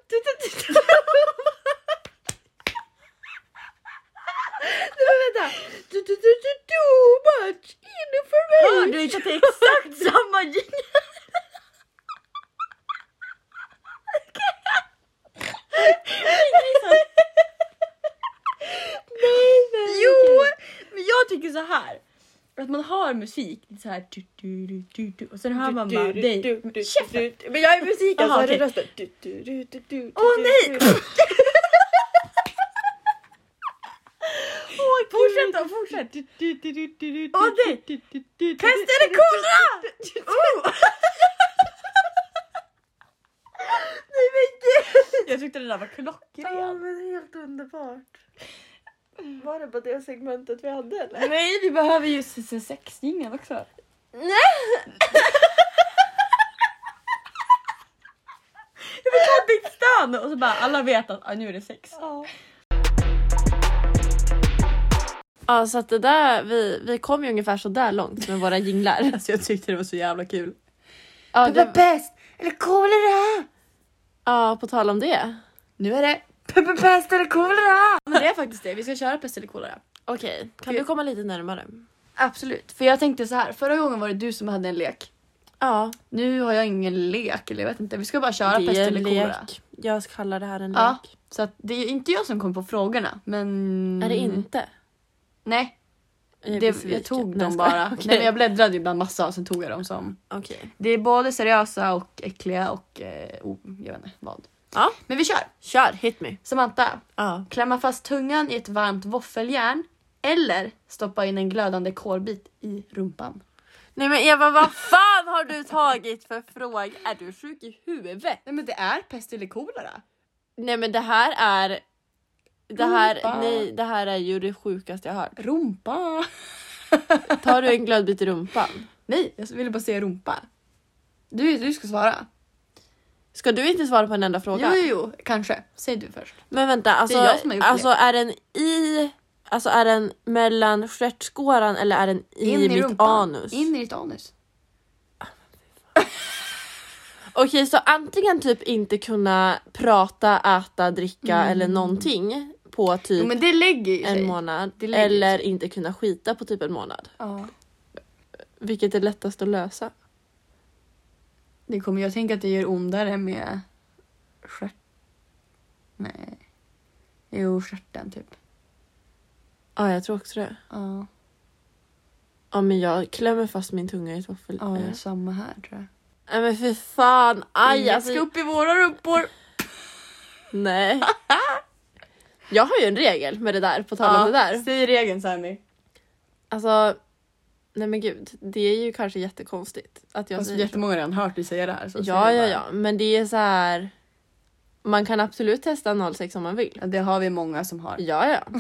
A: Du, du, du, du, too much information. Hörde du inte att det är exakt samma jingle? Jo, men jag tycker så här. Att man har musik, lite så här du, du, du, du, du, och sen hör man bara dig. Men Käften!
B: Men jag är musik
A: alltså,
B: Aha,
A: det är
B: rösten.
A: Åh nej! Åh, fortsätt då, fortsätt! Åh nej! Pest eller kolera? Oh. Nej men gud! Jag tyckte det där var klockren.
B: men helt underbart. Var det bara det segmentet vi hade eller?
A: Nej, vi behöver ju season 6 också. Jag vill ha ett ditt stön! Och så bara alla vet att ah, nu är det sex.
B: Ja så att det där, vi, vi kom ju ungefär så där långt med våra jinglar.
D: Alltså jag tyckte det var så jävla kul.
B: Ja, det,
A: Pest eller kolera?
B: ja på tal om det.
D: Nu är det
A: Pest eller kolera?
D: Men det är faktiskt det. Vi ska köra pest eller kolera.
B: Okej, kan du komma lite närmare?
D: Absolut. För jag tänkte så här. Förra gången var det du som hade en lek.
B: Ja,
D: Nu har jag ingen lek. Eller jag vet inte. Vi ska bara köra
B: det
D: pest
B: är en
D: eller kolera.
B: lek. Jag kallar det här en lek.
D: Ja. Så att det är inte jag som kom på frågorna. Men...
B: Är det inte?
D: Nej.
B: Jag är
D: Det,
B: besviken.
D: jag tog
B: Nej, jag
D: dem
B: skojar.
D: bara.
B: Okej.
D: Nej, men jag bläddrade ju bland massa och sen tog jag dem som...
B: Okej.
D: Det är både seriösa och äckliga och... Eh, oh, jag vet inte vad.
B: Ja.
D: Men vi kör!
B: Kör, hit me.
D: Samantha,
B: Ja.
D: klämma fast tungan i ett varmt våffeljärn eller stoppa in en glödande kolbit i rumpan.
B: Nej men Eva, vad fan har du tagit för fråga? Är du sjuk i huvudet?
D: Nej men det är pest eller kolera.
B: Nej men det här är... Det här,
D: Rumpa.
B: nej, det här är ju det sjukaste jag har hört.
D: Rumpa!
B: Tar du en glödbit i rumpan?
D: Nej, jag ville bara säga rumpa. Du, du ska svara.
B: Ska du inte svara på en enda
D: Jo,
B: fråga?
D: jo, jo, kanske. Säg du först.
B: Men vänta, alltså,
D: jag som har gjort
B: alltså är den i... Alltså är den mellan stjärtskåran eller är den i mitt anus?
D: In i ditt anus.
B: Okej, så antingen typ inte kunna prata, äta, dricka eller någonting på typ
D: Mm. Jo, men det lägger ju sig.
B: en månad.
D: Det lägger
B: Eller inte kunna skita på typ en månad.
D: Ja.
B: Vilket är lättast att lösa?
D: Det kommer jag tänka att det gör ondare med stjärt... Nej. Jo, stjärten typ.
B: Ja, jag tror också det.
D: Ja,
B: Ja, men jag klämmer fast min tunga i ett våffel.
D: ja
B: Eh,
D: samma här tror jag.
B: Nej men för fan, aj
D: Inget
B: alltså.
D: ska upp i våra rumpor!
B: Nej. Jag har ju en regel med det där, på tal om det där.
D: Säg regeln Sammy.
B: Alltså, nej men gud. Det är ju kanske jättekonstigt att jag
D: Fast
B: säger så.
D: jättemånga har redan hört dig säga det här. Så säg
B: Ja,
D: det
B: ja,
D: bara.
B: ja. Men det är så här. Man kan absolut testa 06 om man vill.
D: Ja, Det har vi många som har.
B: Ja, ja.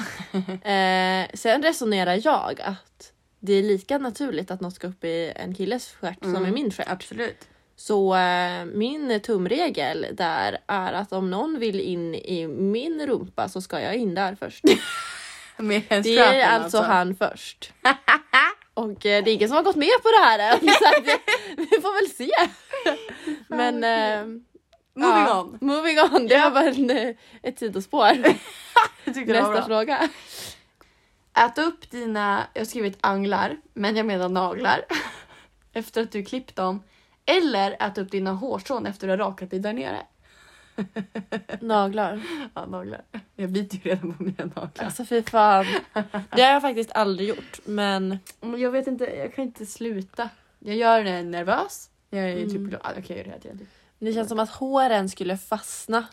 B: Eh, sen resonerar jag att det är lika naturligt att något ska upp i en killes stjärt som i min stjärt.
D: Absolut.
B: Så eh, min tumregel där är att om någon vill in i min rumpa så ska jag in där först.
D: Med en
B: Det
D: ströken,
B: är alltså han först. Och eh, det är ingen som har gått med på det här än. Så att vi, vi får väl se. Men... Eh,
D: Moving
B: ja,
D: on.
B: Moving on. Det var bara en, eh, ett sidospår.
D: Jag tyckte det
B: Nästa
D: var bra.
B: fråga.
D: Ät upp dina, jag har skrivit anglar, men jag menar naglar. Efter att du klippt dem. Eller ät upp dina hårstrån efter att du har rakat dig där nere.
B: Naglar.
D: Ja, naglar. Jag biter ju redan på mina naglar.
B: Alltså fy fan. Det har jag faktiskt aldrig gjort men
D: Men Jag vet inte, jag kan inte sluta. Jag gör det nervös. Jag är ju typ glad. Jag kan ju det hela tiden.
B: det känns som att håren skulle fastna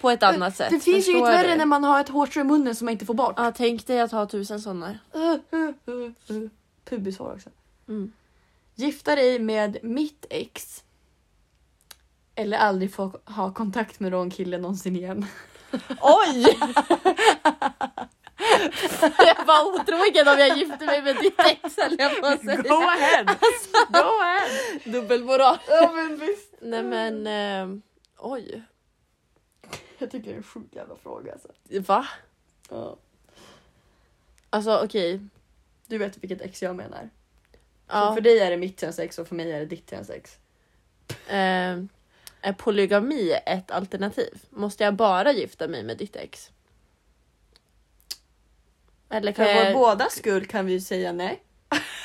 B: på ett annat sätt.
D: Äh! Det finns ju inget
B: Förstår
D: värre
B: du?
D: när man har ett hårstrå i munnen som man inte får bort.
B: Ja, tänk dig att ha tusen sådana.
D: Uh, uh, uh, uh. Pubishår också.
B: Mm.
D: Gifta dig med mitt ex. Eller aldrig få ha kontakt med någon kille någonsin igen.
B: Oj! jag var otrogen om jag gifte mig med ditt ex höll jag på att
F: Go
D: Alltså,
B: säga.
F: ahead!
B: Go ahead.
F: Dubbelmoral.
D: Ja men visst.
B: Nej men, eh, oj.
D: Jag tycker det är en sjuk jävla fråga alltså.
B: Va? Alltså okej.
D: Du vet vilket ex jag menar. Så
B: Ja.
D: för dig är det mitt transex och för mig är det ditt transex.
B: Eh, är polygami ett alternativ? Måste jag bara gifta mig med ditt ex? Eller
D: För
B: kan jag...
D: vår båda skull kan vi ju säga nej.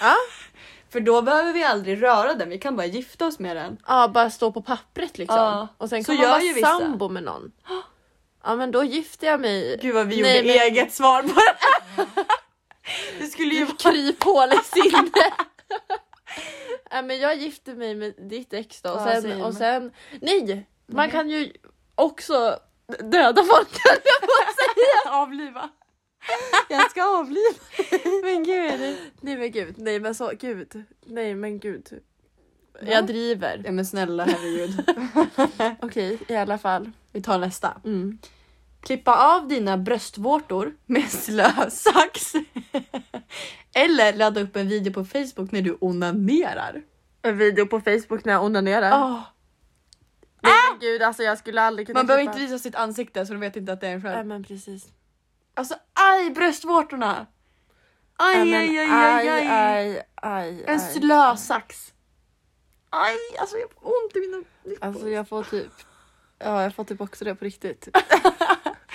B: Ja.
D: För då behöver vi aldrig röra den, vi kan bara gifta oss med den.
B: Ja, bara stå på pappret liksom.
D: Ja.
B: Och sen
D: Så
B: kan man
D: gör
B: vara
D: ju vissa.
B: sambo med någon. Ja men då gifter jag mig.
D: Gud vad vi
B: Nej,
D: gjorde
B: men-
D: eget svar på det här. Det skulle ju vara...
B: Kryphål i sinne. ja, men jag gifter mig med ditt ex då. Och
D: Ja,
B: sen,
D: same.
B: och sen... Nej! Man kan ju också döda folk höll jag på att säga.
D: Avliva. Jag ska avliva.
B: Men gud. Nej men gud. Nej men så gud. Nej men gud.
D: Va?
B: Jag driver.
D: Ja men snälla herregud.
B: Okej i alla fall.
D: Vi tar nästa.
B: Mm.
D: Klippa av dina bröstvårtor med slösax. Eller ladda upp en video på Facebook när du onanerar.
B: En video på Facebook när jag onanerar.
D: Åh,
B: Nej men gud alltså jag skulle aldrig kunna
D: Ah! man behöver
B: klippa.
D: inte visa sitt ansikte så de vet inte att det är en
B: Ja
D: själv.
B: men precis.
D: Alltså aj bröstvårtorna! Aj
B: Ja, men
D: aj, aj aj aj!
B: aj, aj, aj.
D: En slösax. Aj alltså jag får ont i mina nippor.
B: Alltså jag får typ... Ja, jag får typ också det på riktigt.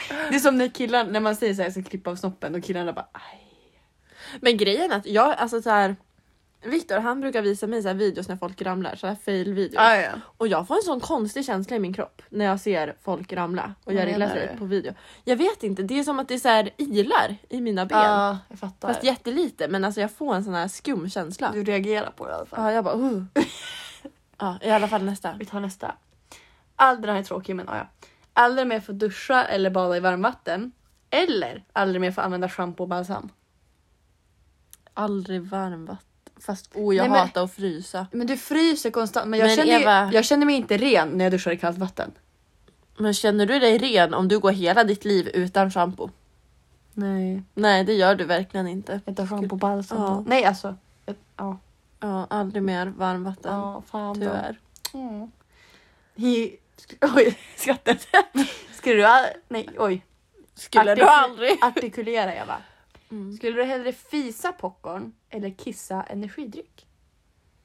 D: Det är som när killar, när man säger så här, jag ska klippa av snoppen och killarna bara "Ah, aj.
B: Men grejen är att jag, alltså så här... Viktor han brukar visa mig så här videos när folk ramlar, så här fail-videos.
D: Ah, ja.
B: Och jag får en sån konstig känsla i min kropp när jag ser folk ramla och
D: Vad
B: göra illa
D: menar
B: sig
D: du?
B: på video. Jag vet inte, det är som att det är så här ilar i mina ben.
D: Ja, jag fattar.
B: Fast jättelite, men alltså jag får en sån här skum känsla.
D: Du reagerar på det i alla fall.
B: Ja, jag bara uh. Ja, i alla fall nästa.
D: Ah, Vi tar nästa. Aldrig, den här är tråkig men ah, ja, ja. Aldrig mer få duscha eller bada i varmvatten. Eller aldrig mer få använda schampo och balsam.
B: Aldrig varmvatten. Fast oh, jag
D: Nej, men-
B: hatar att frysa.
D: Men du fryser konstant. Men jag,
B: Men
D: känner, ju-
B: Eva-
D: jag känner mig inte ren när jag duschar i kallt vatten.
B: Men känner du dig ren om du går hela ditt liv utan shampoo?
D: Nej.
B: Nej, det gör du verkligen inte.
D: Jag tar schampo och balsam.
B: Ja.
D: Nej alltså. jag- Ja.
B: Ja, aldrig mer varmvatten.
D: Ja, fan då.
B: tyvärr.
D: Mm. He... Oj, skrattet. Skulle du... all- Nej, oj.
B: Skulle
D: Artik-
B: du aldrig?
D: Artikulera Eva.
B: Mm.
D: Skulle du hellre fisa popcorn eller kissa energidryck?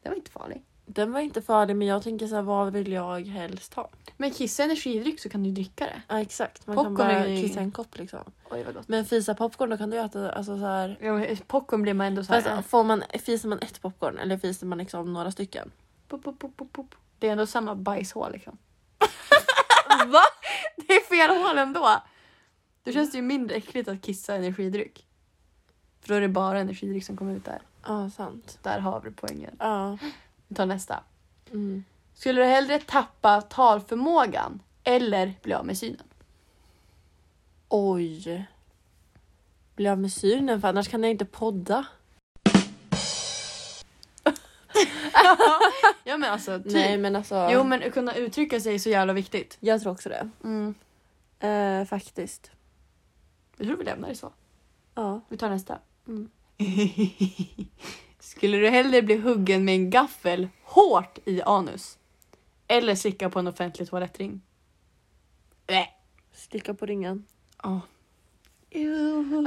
D: Det var inte farligt.
B: Den var inte farlig, men jag tänker så här, vad vill jag helst ha?
D: Men kissa energidryck så kan du dricka det.
B: Ja, exakt. Man
D: Popcorn
B: kan bara
D: är ju-
B: kissa en kopp liksom.
D: Oj vad gott.
B: Men fisa popcorn, då kan du äta alltså så här.
D: Ja, men popcorn blir man ändå så här.
B: Fast, får man, fiser man ett popcorn eller fiser man liksom några stycken?
D: pop, pop, pop, pop, pop. Det är ändå samma bajshål liksom. Va? Det är fel hål ändå. Då känns det ju mindre äckligt att kissa energidryck. För då är det bara energidryck som kommer ut där.
B: Ja, sant.
D: Där har vi poängen.
B: Ja.
D: Vi tar nästa.
B: Mm.
D: Skulle du hellre tappa talförmågan eller bli av med synen?
B: Oj. Blir jag med synen för annars kan jag inte podda.
D: Ja men alltså typ.
B: Nej men alltså.
D: Jo men att kunna uttrycka sig är så jävla viktigt.
B: Jag tror också det. Eh, faktiskt.
D: Jag tror vi lämnar det så.
B: Ja.
D: Vi tar nästa.
B: Mm.
D: Skulle du hellre bli huggen med en gaffel hårt i anus? Eller slicka på en offentlig toalettring? Äh.
B: Slicka på ringen.
D: Alltså,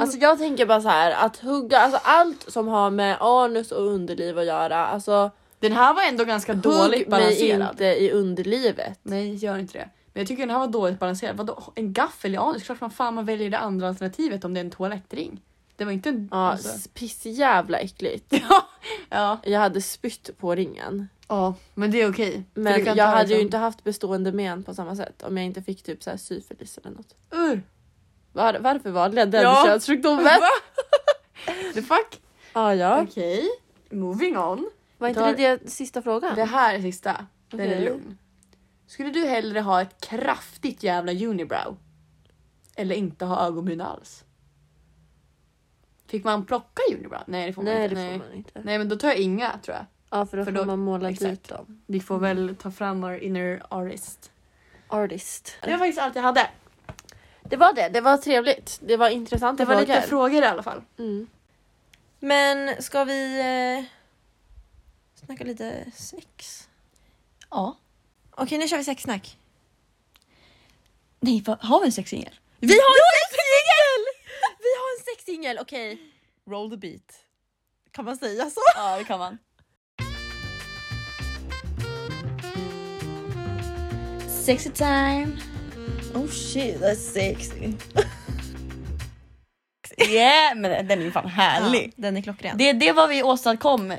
B: Alltså jag tänker bara så här att hugga, alltså allt som har med anus och underliv att göra. Alltså
D: den här var ändå ganska dåligt
B: hugg mig
D: balanserad.
B: inte i underlivet.
D: Nej, gör inte det. Men jag tycker den här var dåligt balanserad. Vadå? En gaffel i anus? Klart man fan man väljer det andra alternativet om det är en toalettring. Det var inte en...
B: Ja,
D: alltså.
B: s- pissjävla äckligt.
D: ja.
B: Jag hade spytt på ringen.
D: ja, men det är okej. För du
B: Men jag
D: kan ta
B: hade ju
D: liksom-
B: inte haft bestående men på samma sätt om jag inte fick typ så här syfilis eller något.
D: Ur!
B: Var, varför var det den
D: Ja.
B: könssjukdomen?
D: The fuck?
B: Ja, ja.
D: Okej, moving on.
B: Var inte
D: Tar-
B: det, det sista frågan?
D: Det här är sista. Den är
B: Okej.
D: lugn. Skulle du hellre ha ett kraftigt jävla unibrow? Eller inte ha ögonbryn alls? Fick man plocka unibrow? Nej det får man
B: Nej,
D: inte.
B: det får
D: Nej.
B: man inte.
D: Nej men då tar jag inga tror jag.
B: Ja, för då
D: För
B: får
D: då-
B: man måla
D: exakt.
B: dit dem.
D: Vi får väl ta fram our inner artist.
B: Artist.
D: Det var faktiskt allt jag hade. Det var det. Det var trevligt. Det var intressanta
A: Det var
D: frågor.
A: lite frågor i alla fall.
D: mm.
B: Men ska vi eh, snacka lite sex?
A: Ja.
B: Okej, nu kör vi sexsnack.
A: Nej, vad- har vi en sexsingel?
B: Vi har en sexjingel! Vi har en sexjingel, okej. Roll the beat. Kan man säga så?
A: Ja, det kan man. Sexy time. Oh shit, that's sexy. yeah, men den- den är ju fan härlig.
B: den är klockren.
A: Det, det var vi åstadkom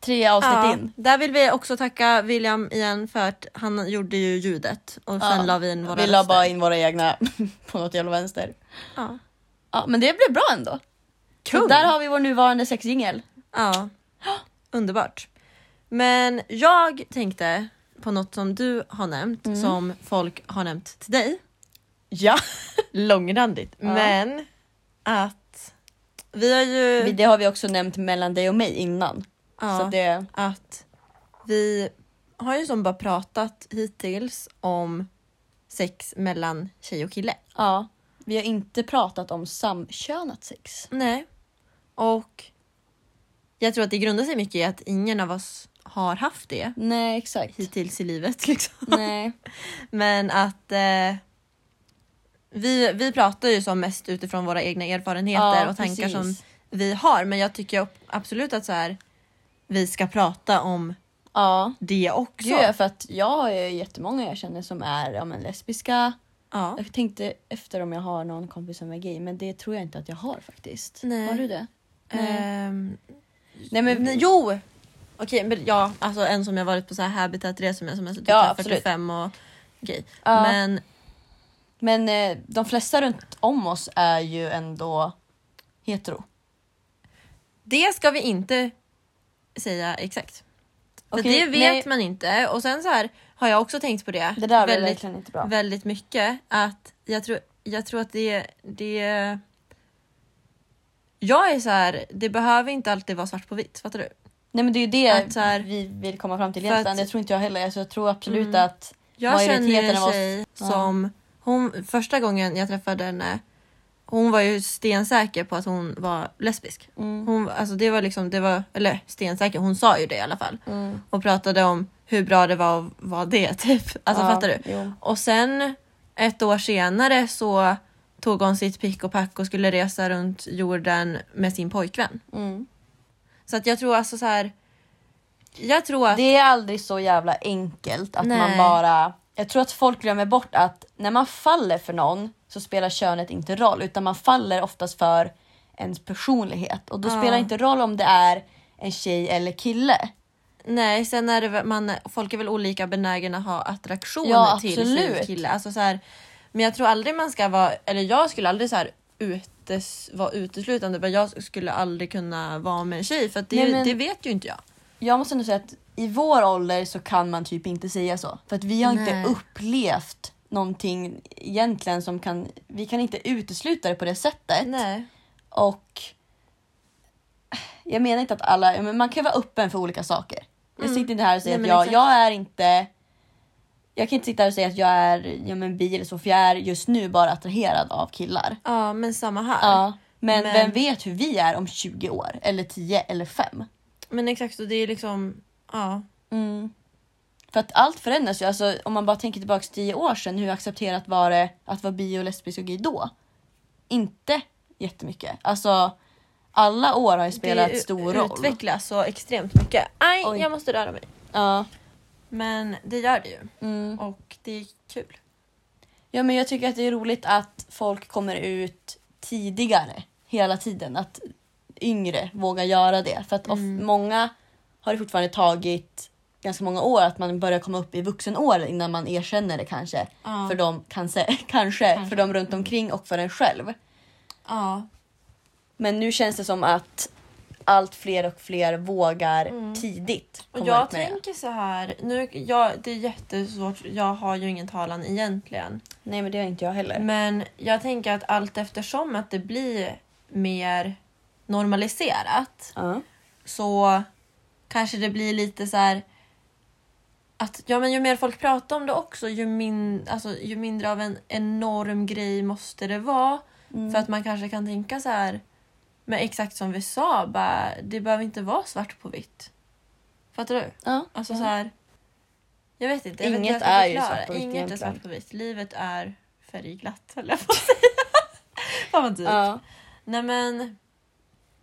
A: tre avsnitt in.
B: Där vill vi också tacka William igen för att han gjorde ju ljudet och sen
A: Ja.
B: la vi in våra
A: vi la bara in våra egna på något jävla vänster.
B: Ja.
A: Ja, men det blev bra ändå. Så
B: Kung.
A: där har vi vår nuvarande sexjingel.
B: Ja. Underbart. Men jag tänkte på något som du har nämnt som folk har nämnt till dig.
A: Ja.
B: Långrandigt. Men att vi har ju...
A: Det har vi också nämnt mellan dig och mig innan.
B: ja.
A: Så det,
B: att vi har ju som bara pratat hittills om sex mellan tjej och kille.
A: ja. Vi har inte pratat om samkönat sex.
B: Nej. Och jag tror att det grundar sig mycket i att ingen av oss har haft det
A: Nej, exakt.
B: hittills i livet. Liksom.
A: Nej.
B: Men att eh, vi, vi pratar ju som mest utifrån våra egna erfarenheter
A: Ja,
B: och tankar
A: precis.
B: som vi har. Men jag tycker ju absolut att så här, vi ska prata om
A: Ja.
B: det också.
A: Gud, för att jag har ju jättemånga jag känner som är ja, men lesbiska.
B: Ja.
A: Jag tänkte efter om jag har någon kompis som är gay, men det tror jag inte att jag har faktiskt.
B: Nej.
A: Har du det?
B: Ehm, mm.
A: Nej, men
B: Nej, jo! Okej, men ja, alltså en som jag varit på så här habitatresor med som jag suttit
A: Ja,
B: ja,
A: absolut.
B: 45 och grej.
A: Ja.
B: Men
A: Men eh, de flesta runt om oss är ju ändå hetero.
B: det ska vi inte säga exakt. För
A: Okej,
B: det vet
A: nej.
B: man inte. Och sen så här har jag också tänkt på det,
A: Det där var
B: väldigt,
A: verkligen inte bra.
B: väldigt mycket. Att jag tror, jag tror att det, det... Jag är så här, det behöver inte alltid vara svart på vitt. Fattar du?
A: Nej men det är ju det
B: Att så här-
A: vi vill komma fram till
B: För att- Mm.
A: egentligen. Det tror inte jag heller. Alltså, jag tror absolut att
B: Jag
A: Majoriteten
B: känner ju
A: av
B: en
A: oss-
B: tjej
A: Ja.
B: som, hon, första gången jag träffade henne, hon var ju stensäker på att hon var lesbisk. Hon, alltså det var liksom, det var, eller stensäker, hon sa ju det i alla fall.
A: Mm.
B: Och pratade om hur bra det var att vara det typ. Alltså
A: Ja,
B: fattar du?
A: jo.
B: Och sen ett år senare så tog hon sitt pick och pack och skulle resa runt jorden med sin pojkvän.
A: Mm.
B: Så att jag tror alltså så här. Jag tror att...
A: det är aldrig så jävla enkelt att man
B: Nej.
A: bara... Jag tror att folk glömmer bort att när man faller för någon så spelar könet inte roll utan man faller oftast för ens personlighet och då
B: Ja.
A: spelar det inte roll om det är en tjej eller kille.
B: Nej, sen är det väl- man, folk är väl olika benägna att ha attraktion
A: Ja,
B: till
A: absolut.
B: sin kille. Alltså, så här, men jag tror aldrig man ska vara, eller jag skulle aldrig så här, utes, vara uteslutande. bara Jag skulle aldrig kunna vara med en tjej för att det,
A: Nej, men-
B: det vet ju inte jag.
A: Jag måste ändå säga att i vår ålder så kan man typ inte säga så. För att vi har
B: Nej.
A: inte upplevt någonting egentligen som kan... Vi kan inte utesluta det på det sättet.
B: Nej.
A: Och jag menar inte att alla, men man kan vara öppen för olika saker. Jag sitter inte här och säger
B: Mm. Nej, men
A: att jag,
B: exakt.
A: jag är inte jag kan inte sitta här och säga att jag är ja, men bi eller så för jag är just nu bara attraherad av killar.
B: Ja, men samma här.
A: Ja, men,
B: Men-
A: vem vet hur vi är om 20 år eller 10 eller 5?
B: Men exakt, och det är liksom... Ja.
A: Mm. För att allt förändras ju. Alltså, om man bara tänker tillbaka till 10 år sedan, hur accepterat var det att vara bi och lesbisk och gay då? Inte jättemycket. Alltså, alla år har ju spelat
B: det
A: stor
B: u-
A: roll.
B: utvecklas så extremt mycket. Aj,
A: Oj.
B: jag måste röra mig.
A: Ja.
B: Men det gör det ju.
A: Mm.
B: Och det är kul.
A: Ja, men jag tycker att det är roligt att folk kommer ut tidigare hela tiden. Att yngre vågar göra det. För att of- många har det fortfarande tagit ganska många år att man börjar komma upp i vuxenåren innan man erkänner det kanske.
B: Ja.
A: För dem, kanske, kanske, för dem runt omkring och för en själv.
B: Ja.
A: Men nu känns det som att allt fler och fler vågar tidigt.
B: Mm. Och
A: komma
B: jag
A: ut med det.
B: tänker så här, nu, jag, det är jättesvårt, jag har ju ingen talan egentligen.
A: Nej men det har inte jag heller.
B: Men jag tänker att allt eftersom att det blir mer normaliserat
A: Ja.
B: så kanske det blir lite så här att ja, men ju mer folk pratar om det också, ju, min, alltså, ju mindre av en enorm grej måste det vara.
A: Mm.
B: För att man kanske kan tänka så här, men exakt som vi sa, bara, det behöver inte vara svart på vitt. Fattar du?
A: Ja.
B: Alltså så här, jag vet inte. Jag vet
A: Mm. Inget
B: inte hur jag ska
A: är ju
B: förklara.
A: svart på vitt
B: Inget är
A: egentligen.
B: svart på vitt. Livet är färgglatt, höll jag på att säga. Fan vad dyrt.
A: ja.
B: Nej men,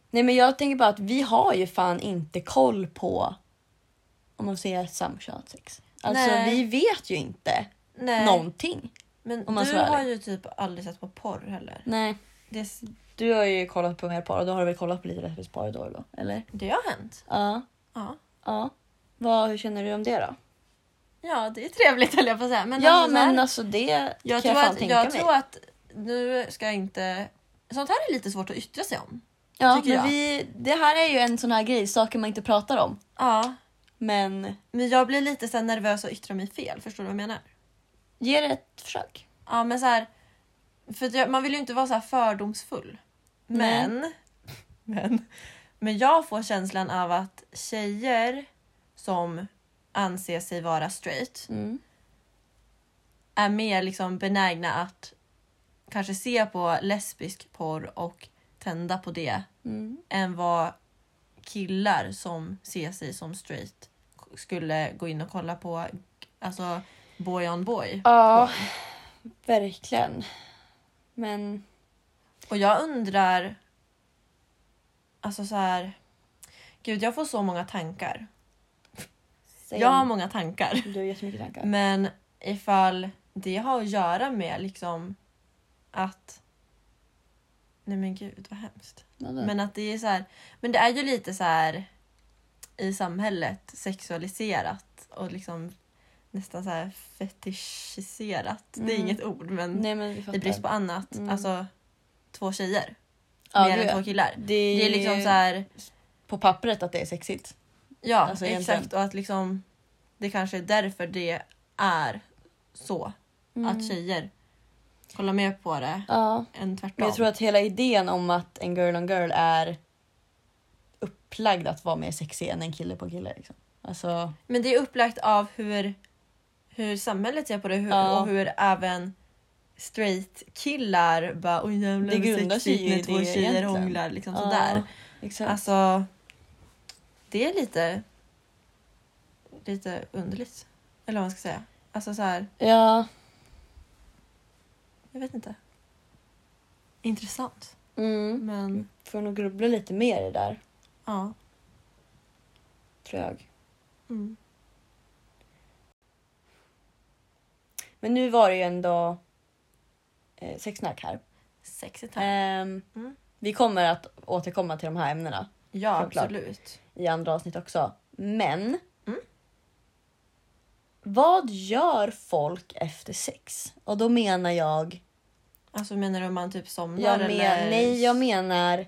A: Nej men jag tänker bara att vi har ju fan inte koll på om man säger samkönat sex. Alltså
B: Nej.
A: vi vet ju inte
B: nej.
A: någonting.
B: Men
A: om man
B: du
A: ska vara
B: har ju typ aldrig sett på porr heller.
A: Nej.
B: Det, s-
A: Du har ju kollat på mer par och då har du väl kollat på lite rättvist par då, då eller?
B: det har hänt.
A: Ja.
B: Ja.
A: Ja. Vad, hur känner du om det då?
B: ja, det är trevligt höll jag på att säga. Men
A: ja
B: alltså, så här-
A: men alltså det
B: Jag
A: kan
B: tror,
A: jag fan
B: att,
A: tänka
B: jag
A: mig.
B: tror att nu ska jag inte... Sånt här är lite svårt att yttra sig om.
A: ja,
B: tycker
A: men
B: jag.
A: vi, det här är ju en sån här grej, saker man inte pratar om.
B: Ja.
A: Men
B: Men jag blir lite så här nervös att yttra mig fel. Förstår du vad jag menar?
A: ge det ett försök.
B: Ja, men så här, för att jag, man vill ju inte vara så här fördomsfull. Men, men, men jag får känslan av att tjejer som anser sig vara straight
A: Mm.
B: är mer liksom benägna att kanske se på lesbisk porr och tända på det
A: Mm.
B: än vad killar som ser sig som straight skulle gå in och kolla på alltså boy on boy.
A: Ja, verkligen. Men
B: Och jag undrar... Alltså så här... Gud, jag får så många tankar.
A: säg
B: Jag har
A: om-
B: många tankar.
A: Du har jättemycket tankar.
B: Men ifall det har att göra med liksom att... Nej men gud, vad hemskt. Men att det är så här... Men det är ju lite så här i samhället sexualiserat och liksom nästan så här fetischiserat. Det är
A: Mm.
B: inget ord men
A: Nej men vi
B: i
A: fattar.
B: brist på annat.
A: Mm.
B: Alltså två tjejer.
A: Ja,
B: mer
A: det
B: än
A: är-
B: två killar.
A: Det är,
B: Det är liksom så här,
A: på pappret att det är sexigt.
B: ja
A: Alltså, egentligen.
B: exakt och att liksom det kanske är därför det är så
A: Mm.
B: att tjejer kollar mer på det
A: Ja.
B: än tvärtom.
A: Men jag tror att hela idén om att en girl on girl är upplagd att vara mer sexig än en kille på kille. Liksom. Alltså,
B: Men det är upplagt av hur, hur samhället ser på det hur,
A: Ja.
B: och hur även straight killar bara oj jävlar
A: Det
B: vad
A: grundar sig
B: sexigt
A: ju i
B: när två
A: det
B: tjejer
A: egentligen.
B: hånglar liksom
A: Ja,
B: sådär.
A: exakt.
B: Alltså det är lite lite underligt. Eller vad man ska säga. Alltså så här,
A: ja.
B: jag vet inte. Intressant.
A: Mm.
B: Men
A: Får nog grubbla lite mer i det där,
B: ja.
A: tror jag.
B: Mm.
A: Men nu var det ju ändå eh, sexsnack här.
B: Sexigt här.
A: Ehm,
B: Mm.
A: Vi kommer att återkomma till de här ämnena
B: ja,
A: självklart.
B: absolut.
A: i andra avsnitt också. Men.
B: Mm.
A: Vad gör folk efter sex? Och då menar jag
B: Alltså menar du om man typ somnar
A: Jag men,
B: eller?
A: Nej, jag menar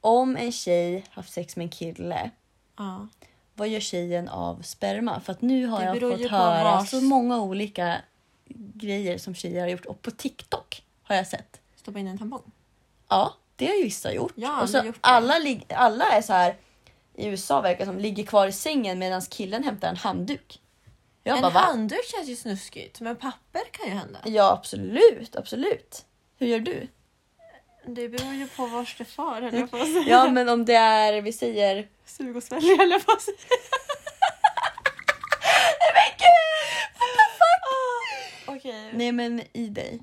A: om en tjej haft sex med en kille,
B: Ja.
A: vad gör tjejen av sperma? För att nu har
B: Det
A: jag
B: beror ju
A: fått
B: på
A: höra
B: vars-
A: så många olika grejer som tjejer har gjort och på TikTok har jag sett.
B: Stoppa in en tampong.
A: Ja, det har ju vissa gjort.
B: Ja,
A: och så
B: de har gjort det.
A: alla, lig- alla är så här i USA verkar som ligger kvar i sängen medan killen hämtar en handduk. Jag
B: en
A: bara, va?
B: handduk känns ju snuskigt men papper kan ju hända.
A: Ja, absolut, absolut. Hur gör du?
B: Det beror ju på vars det far höll jag på att säga.
A: Ja, men om det är, vi säger
B: Sug och svälj höll jag på att säga. Nej men gud! What the fuck? Okej.
A: Ah. Nej, men i dig.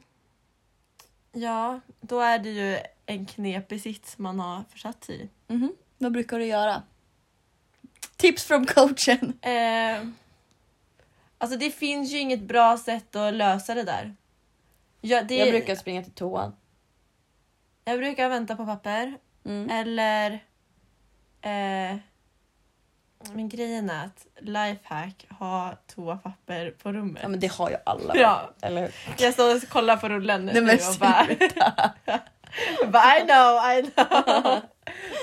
B: Ja, då är det ju en knepig sits man har försatt i.
A: Mhm. Vad brukar du göra? Tips från coachen.
B: Eh, alltså det finns ju inget bra sätt att lösa det där. Jag, det,
A: Jag brukar springa till toan.
B: jag brukar vänta på papper.
A: Mm.
B: Eller... Eh, men grejen är att lifehack har toapapper på rummet.
A: Ja, men det har ju alla.
B: Ja,
A: Eller hur?
B: jag står och kollar på rullen nu
A: Nej, men
B: och bara, bara... I know, I know.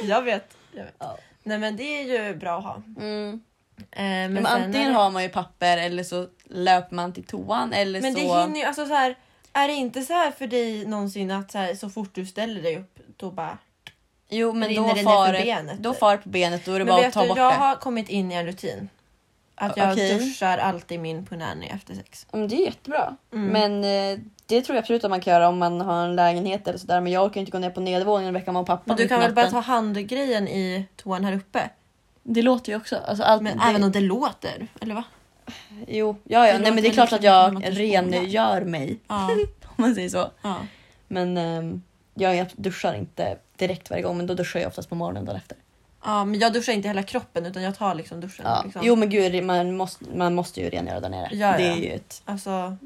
B: jag vet. Jag vet.
A: Ja.
B: Nej men det är ju bra att ha.
A: Mm.
B: Eh, men
A: Men
B: sen är
A: antingen
B: det-
A: har man ju papper eller så löper man till toan eller
B: Men
A: så...
B: det hinner ju, alltså så här, är det inte så här för dig någonsin att så, här, så fort du ställer dig upp då bara...
A: Jo, men
B: rinner
A: då
B: det ner för
A: far,
B: benet,
A: då
B: typ.
A: far på benet. Då är det
B: Men
A: bara att
B: vet
A: ta
B: du,
A: bort
B: jag
A: det.
B: har kommit in i en rutin. Att jag
A: Okej.
B: duschar alltid min punani efter sex.
A: Mm, det är jättebra.
B: Mm.
A: Men eh, det tror jag absolut att man kan göra om man har en lägenhet eller sådär. Men jag orkar inte gå ner på nedervåningen och väcka mamma och pappa.
B: Men du
A: mitt
B: kan
A: i
B: väl bara ta
A: natten.
B: handgrejen i toan här uppe?
A: Det låter ju också. Alltså, allt,
B: Men
A: det,
B: även om det låter, eller va?
A: Jo, ja, ja.
B: Det
A: Nej, men det är
B: låter
A: klart att
B: liksom som
A: jag
B: att du
A: rengör mig.
B: Ja.
A: Om man säger så.
B: ja.
A: Men ehm, jag, jag duschar inte direkt varje gång. Men då duschar jag oftast på morgonen dagen efter.
B: ja men jag duschar inte hela kroppen utan jag tar liksom duschen.
A: Ja.
B: Liksom.
A: Jo men gud, man måste, man måste ju rengöra där nere.
B: Ja, ja.
A: Det är ju ett,
B: Alltså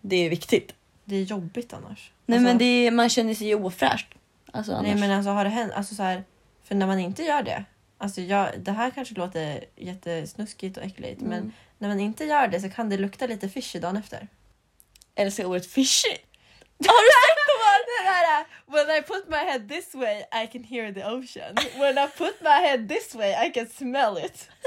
A: det är ju viktigt.
B: det är jobbigt annars.
A: Nej
B: alltså,
A: men det är, man känner sig ju ofräscht. Alltså, annars.
B: Nej men alltså har det hänt, alltså så här, för när man inte gör det. Alltså jag, det här kanske låter jättesnuskigt och äckligt
A: Mm.
B: men när man inte gör det så kan det lukta lite fishy dagen efter.
A: Älskar ordet fishy.
B: Det här är, When I put my head this way I can hear the ocean. When I put my head this way I can smell it.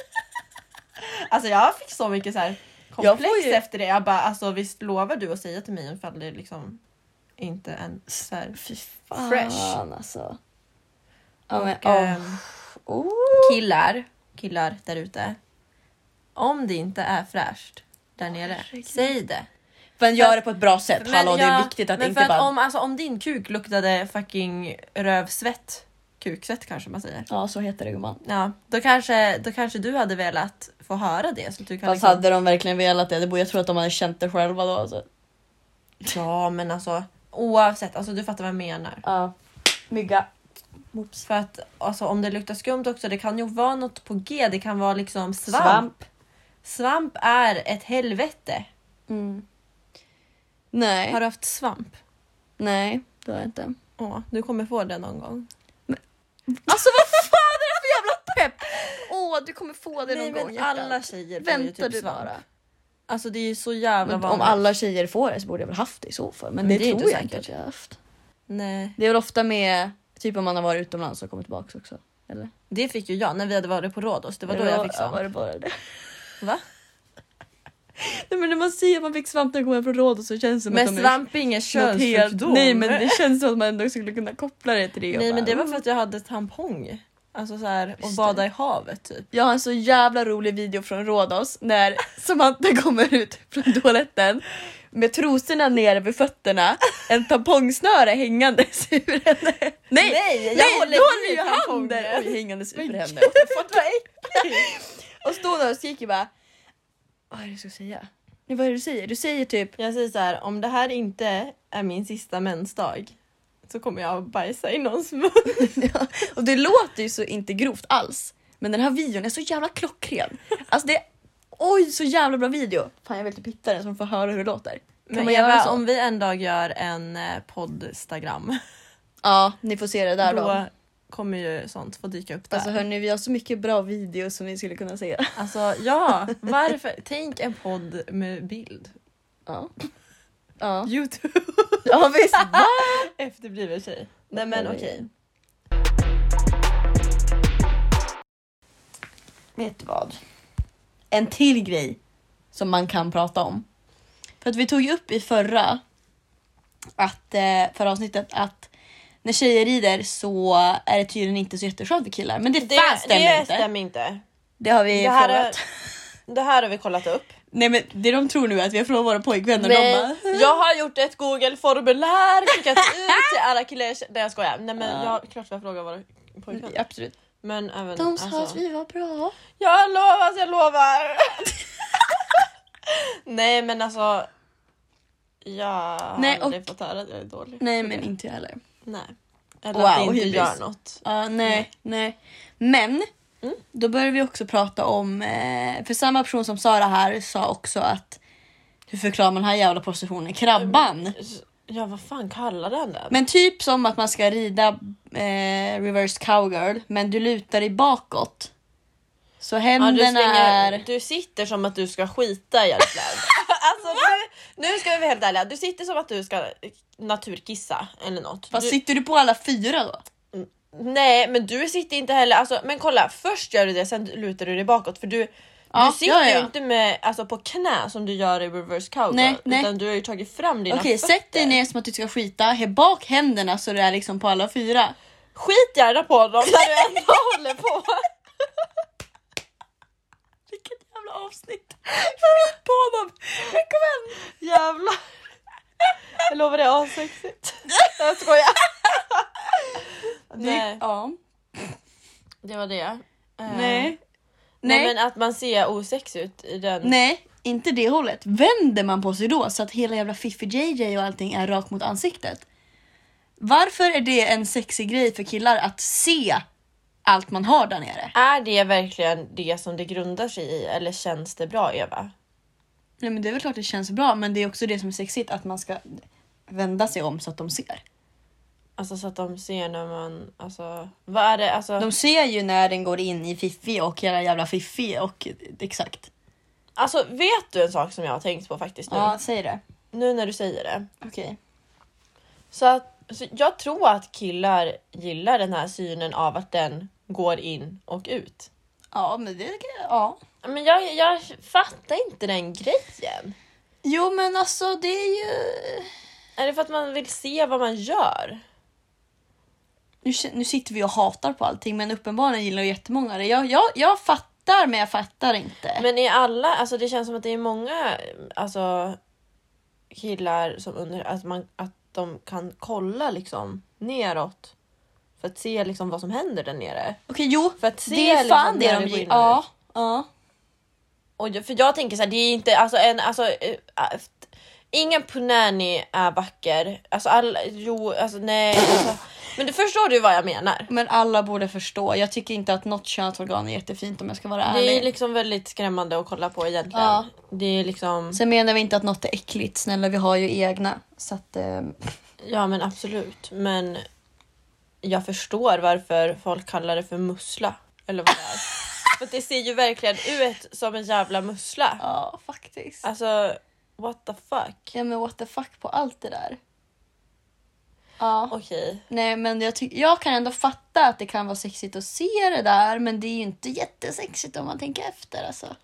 B: Alltså jag fick så mycket så här
A: Jag får
B: komplex
A: ju-
B: efter det. Jag bara alltså visst lovar du att säga till mig ifall det liksom inte en så här
A: Fy fan
B: Fresh.
A: alltså. Ja, men,
B: Och,
A: åh.
B: ehm,
A: oh.
B: killar, killar där ute. Om det inte är fräscht där nere, säg det.
A: Men gör det på ett bra sätt. Hallå det
B: ja,
A: är viktigt att
B: men
A: inte
B: för att
A: bara...
B: om, alltså, om din kuk luktade fucking rövsvett, kuksvett kanske man säger.
A: Ja så heter det gumman.
B: Ja, då kanske, då kanske du hade velat få höra det. Så att du kan
A: Fast
B: liksom...
A: hade de verkligen velat det? det borde, jag tror att de hade känt det själva då. Alltså.
B: Ja, men alltså oavsett, alltså, du fattar vad jag menar.
A: Ja. Mygga. Mops.
B: För att alltså, om det luktar skumt också, det kan ju vara något på G. Det kan vara liksom svamp. Svamp,
A: Svamp.
B: är ett helvete.
A: Mm. Nej.
B: Har du haft svamp?
A: Nej det har jag inte.
B: Ja, du kommer få det någon gång.
A: Alltså vad fan är det för jävla pepp? Åh du kommer få det
B: Nej,
A: någon gång
B: men
A: hjärtat.
B: alla tjejer får ju
A: Vänta
B: typ
A: du
B: svamp.
A: bara.
B: Alltså det är ju så jävla
A: Men om
B: vanligt.
A: alla tjejer får det så borde jag väl haft det i så fall. Men,
B: Men
A: det,
B: det är
A: tror
B: inte
A: jag inte
B: säkert.
A: att jag har haft.
B: Nej,
A: Det är väl ofta med typ om man har varit utomlands och kommit tillbaka också. Eller?
B: det fick ju jag när vi hade varit på Rhodos. Det var då jag fick
A: Ja, Var
B: svamp.
A: det bara det?
B: Va?
A: Nej men när man säger att man fick svamp när man kom hem från rådet så känns det som
B: Men
A: att de
B: svamp är ingen
A: är något helt...
B: könssjukdom.
A: Nej men det känns som att man ändå skulle kunna koppla det till det. och
B: Nej, men
A: bara,
B: det var för att jag "Mm." hade tampong. Alltså så här, och
A: Just
B: bada i havet typ.
A: Jag har en så jävla rolig video från Rhodos när Samantha kommer ut från toaletten med trosorna nere vid fötterna, en tampongsnöre hängandes ur henne. Nej!
B: Nej, jag
A: nej,
B: håller
A: då håller
B: i
A: ju
B: tampongen.
A: handen oj, hängandes ur henne.
B: What the
A: Och stod där och skrek bara Vad är det jag ska säga? Nej, vad är det du säger? Du säger typ
B: jag säger så här, om det här inte är min sista mensdag så kommer jag att bajsa i någons mun.
A: Ja, och det låter ju så inte grovt alls. Men den här videon är så jävla klockren. Alltså det är, oj så jävla bra video. Fan jag vill typ hitta den så de får höra hur det låter. Kan
B: Men
A: man göra
B: Eva,
A: så?
B: om vi en dag gör en eh, poddstagram
A: Ja, ni får se det där då.
B: då kommer ju sånt få dyka upp där.
A: Alltså hörni, vi har så mycket bra videos som ni skulle kunna se.
B: Alltså ja, varför? Tänk en podd med bild.
A: Ja. Ja,
B: Youtube.
A: ja visst. Va?
B: Efterbliven tjej. Nej men
A: Oj.
B: okej.
A: Vet du vad? En till grej som man kan prata om. För att vi tog ju upp i förra, att, eh, förra avsnittet att när tjejer rider så är det tydligen inte så jätteskönt för killar. Men det, fan stämmer inte.
B: stämmer inte.
A: Det har vi
B: Det här
A: frågat.
B: Det här har vi kollat upp.
A: Nej men det de tror nu är att vi har frågat våra pojkvänner och de bara
B: Men jag har gjort ett google-formulär, skickat ut till alla killar jag känner. Nej jag skojar. Nej men
A: Ja.
B: jag, klart vi har frågat våra pojkvänner.
A: Absolut.
B: Men även alltså-
A: De sa att vi var bra.
B: Jag lovar, jag lovar! Nej men alltså. Jag har
A: Nej, och-
B: aldrig fått höra att jag är dålig.
A: Nej men inte jag heller.
B: Nej. Eller att det
A: Wow,
B: inte
A: hybris.
B: gör något.
A: Ja, nej, Mm. nej. Men då börjar vi också prata om, eh, för samma person som sa det här sa också att hur förklarar man den här jävla positionen? Krabban!
B: Ja vad fan kallade han den?
A: Men typ som att man ska rida eh, reverse cowgirl men du lutar dig bakåt. Så
B: Ja, du,
A: händerna
B: slänger,
A: är...
B: du sitter som att du ska skita i allt land. alltså, nu, nu ska vi vara helt ärliga, du sitter som att du ska eh, naturkissa eller något.
A: Fast
B: Du,
A: sitter du på alla fyra då?
B: nej men du sitter inte heller, alltså, men kolla först gör du det sen lutar du dig bakåt för du,
A: Ja,
B: du sitter
A: ja, ja.
B: ju inte med, alltså, på knä som du gör i reverse cowgirl
A: Nej, nej.
B: utan du har ju tagit fram dina
A: Okej,
B: fötter.
A: sätt dig ner som att du ska skita, he bak händerna så det är liksom på alla fyra.
B: Skit gärna på dem när du ändå håller på.
A: Vilket jävla avsnitt. Skit på honom! Rekommend!
G: Jävlar. Jag lovar det är assexigt.
A: Jag skojar.
G: Nej.
A: Ja.
B: Det var det. Eh,
A: Nej.
B: Nej.
A: Nej.
B: men att man ser osexig ut i den.
A: Nej, inte det hållet. Vänder man på sig då så att hela jävla Fiffi JJ och allting är rakt mot ansiktet? Varför är det en sexig grej för killar att se allt man har där nere?
B: Är det verkligen det som det grundar sig i eller känns det bra Eva?
A: Nej men det är väl klart det känns bra men det är också det som är sexigt att man ska vända sig om så att de ser.
B: Alltså så att de ser när man, alltså vad är det, alltså,
A: De ser ju när den går in i Fiffi och hela jävla Fiffi och exakt.
B: alltså vet du en sak som jag har tänkt på faktiskt nu?
A: Ja, säg det.
B: Nu när du säger det.
A: Okej.
B: Så att så jag tror att killar gillar den här synen av att den går in och ut.
A: Ja, men det ja.
B: Men jag, jag fattar inte den grejen.
A: Jo, men alltså det är ju...
B: Är det för att man vill se vad man gör?
A: Nu, k- nu sitter vi och hatar på allting, men uppenbarligen gillar ju jättemånga det. Jag, jag, jag fattar, men jag fattar inte.
B: Men är alla, alltså det känns som att det är många alltså, killar som under, att, man, att de kan kolla liksom neråt. För att se liksom vad som händer där nere.
A: Okej, jo.
B: För att se
A: Det är fan
B: liksom
A: det
B: när
A: de
B: går in
A: gillar.
B: och ut.
A: Ja, ja.
B: Och jag, för jag tänker så här, det är inte, alltså en, alltså eh, att- Ingen punani är vacker. Alltså all, jo, alltså nej. Alltså, men du förstår du vad jag menar?
A: Men alla borde förstå. Jag tycker inte att något könsorgan är jättefint om jag ska vara ärlig.
B: Det är liksom väldigt skrämmande att kolla på egentligen.
A: Ja.
B: Det är liksom,
A: Sen menar vi inte att något är äckligt, snälla vi har ju egna. Så att, eh,
B: ja men absolut. Men jag förstår varför folk kallar det för mussla. Eller vad det är. för att det ser ju verkligen ut som en jävla mussla.
A: ja faktiskt.
B: Alltså, what the fuck?
A: Ja men what the fuck på allt det där. Ja.
B: Okej.
A: Nej men jag, tyck- jag kan ändå fatta att det kan vara sexigt att se det där men det är ju inte jättesexigt om man tänker efter alltså.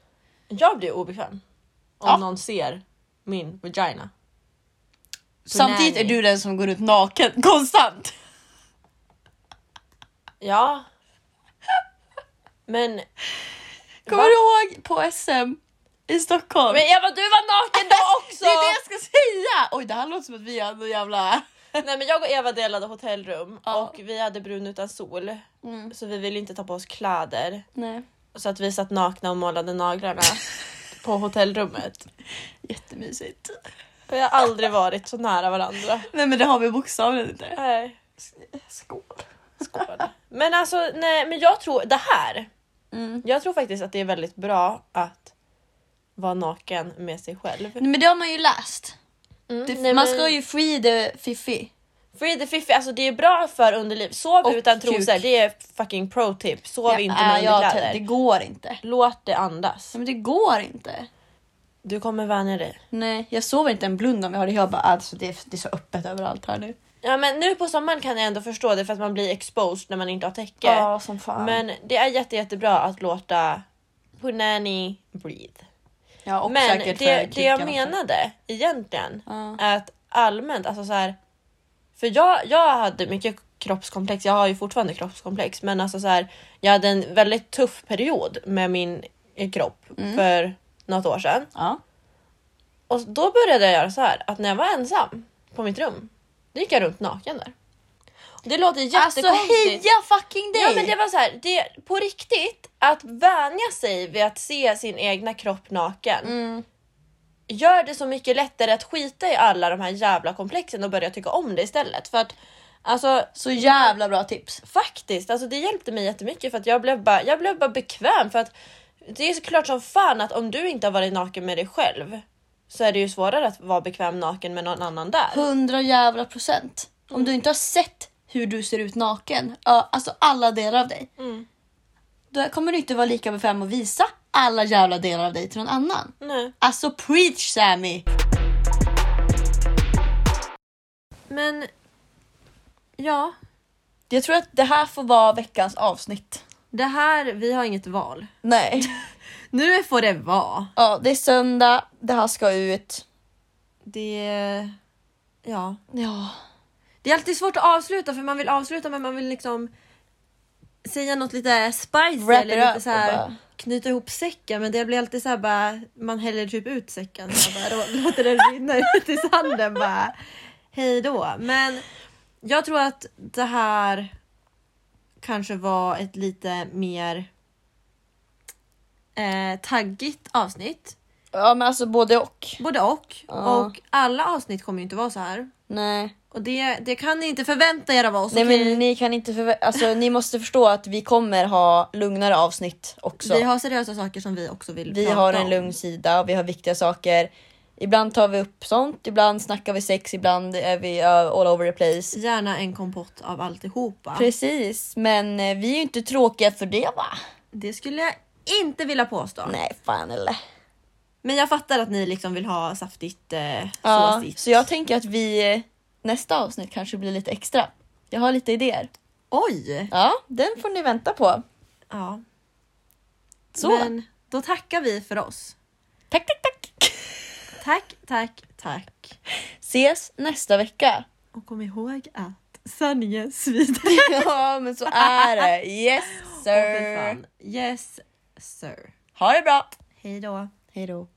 B: Jag blir obekväm. Om
A: Ja.
B: någon ser min vagina.
A: Samtidigt är
B: nej.
A: du den som går ut naken konstant.
B: Ja. Men...
A: Kommer
B: Va?
A: du ihåg på SM i Stockholm?
B: Men Eva, du var naken då också!
A: Det är det jag ska säga! Oj det här låter som att vi hade en jävla...
B: Nej, men jag och Eva delade hotellrum
A: Ja.
B: och vi hade brun utan sol.
A: Mm.
B: Så vi ville inte ta på oss kläder.
A: Nej.
B: Så att vi satt nakna och målade naglarna på hotellrummet.
A: Jättemysigt.
B: Vi har aldrig varit så nära varandra.
A: Nej men det har vi bokstavligen inte.
B: Nej,
A: Skål.
B: skål. Men alltså, nej, men jag tror det här.
A: Mm.
B: Jag tror faktiskt att det är väldigt bra att vara naken med sig själv.
A: Nej, men det har man ju läst.
B: Mm,
A: Det,
B: nej,
A: man
B: men-
A: ska ju free the fiffi.
B: Free the fiffi, alltså det är bra för underliv. Sov
A: Och
B: utan
A: kuk.
B: trosor, det är fucking pro tip. Sov
A: Ja,
B: inte med
A: äh, ja,
B: underkläder.
A: Det går inte.
B: Låt det andas.
A: Men det går inte.
B: Du kommer vänja dig.
A: Nej, jag sover inte en blund om jag har det. Jag bara, alltså det är, det är så öppet överallt här nu.
B: Ja men nu på sommaren kan jag ändå förstå det för att man blir exposed när man inte har täcke.
A: som fan.
B: Men det är jätte, jättebra att låta punani breathe.
A: ja, och
B: men
A: säkert
B: det,
A: för typ
B: det jag
A: kukarna också.
B: menade egentligen
A: Ja.
B: är att allmänt, alltså så här. För jag, jag hade mycket kroppskomplex, jag har ju fortfarande kroppskomplex men alltså så här, jag hade en väldigt tuff period med min eh, kropp
A: Mm.
B: för något år sedan.
A: Ja.
B: Och då började jag göra så här att när jag var ensam på mitt rum, då gick jag runt naken där. Och Det låter
A: Alltså
B: jättekonstigt.
A: heja fucking dig!
B: Ja men det var så här, det, på riktigt, att vänja sig vid att se sin egna kropp naken
A: Mm.
B: gör det så mycket lättare att skita i alla de här jävla komplexen och börja tycka om det istället. För att alltså
A: Så jävla bra tips.
B: faktiskt, alltså det hjälpte mig jättemycket för att jag blev bara, jag blev bara bekväm för att det är såklart som fan att om du inte har varit naken med dig själv så är det ju svårare att vara bekväm naken med någon annan där.
A: Hundra jävla procent. Om du inte har sett hur du ser ut naken, ja, alltså alla delar av dig.
B: Mm.
A: Då kommer du inte vara lika bekväm att visa alla jävla delar av dig till någon annan.
B: Nej.
A: Alltså preach Sammy!
B: Men ja,
A: Jag tror att det här får vara veckans avsnitt.
B: det här, vi har inget val.
A: Nej.
B: Nu får det vara.
A: Ja, det är söndag, det här ska ut.
B: Det... Ja.
A: Ja.
B: Det är alltid svårt att avsluta för man vill avsluta men man vill liksom säga något lite spicy
A: Wrap it
B: eller lite
A: up
B: så här.
A: och bara-
B: knyta ihop säcken men det blir alltid så här bara, man häller typ ut säcken så här bara, och låter den rinna ut i sanden bara. Hej då. Men jag tror att det här kanske var ett lite mer eh, taggigt avsnitt.
A: Ja men alltså både och.
B: Både och.
A: Ja.
B: Och alla avsnitt kommer ju inte vara så här.
A: Nej.
B: Och det, det kan ni inte förvänta er av oss.
A: Nej
B: okej?
A: men ni kan inte förvä- alltså ni måste förstå att vi kommer ha lugnare avsnitt också.
B: Vi har seriösa saker som vi också vill
A: Vi
B: prata
A: har en
B: om.
A: lugn sida och vi har viktiga saker. Ibland tar vi upp sånt, ibland snackar vi sex, ibland är vi uh, all over the place.
B: Gärna en kompott av alltihopa.
A: Precis, men eh, vi är ju inte tråkiga för det va?
B: Det skulle jag inte vilja påstå.
A: Nej, fan eller?
B: Men jag fattar att ni liksom vill ha saftigt, eh,
A: Ja,
B: såsigt.
A: så jag tänker att vi eh, nästa avsnitt kanske blir lite extra. Jag har lite idéer.
B: Oj!
A: Ja, den får ni vänta på.
B: Ja.
A: Så.
B: Men då tackar vi för oss.
A: Tack, tack, tack!
B: Tack, tack, tack.
A: Ses nästa vecka.
B: Och kom ihåg att sanningen svider.
A: Ja, men så är det. Yes
B: Åh, fy
A: sir!
B: fan. Yes, sir.
A: ha det bra!
B: Hej då.
A: Hej då.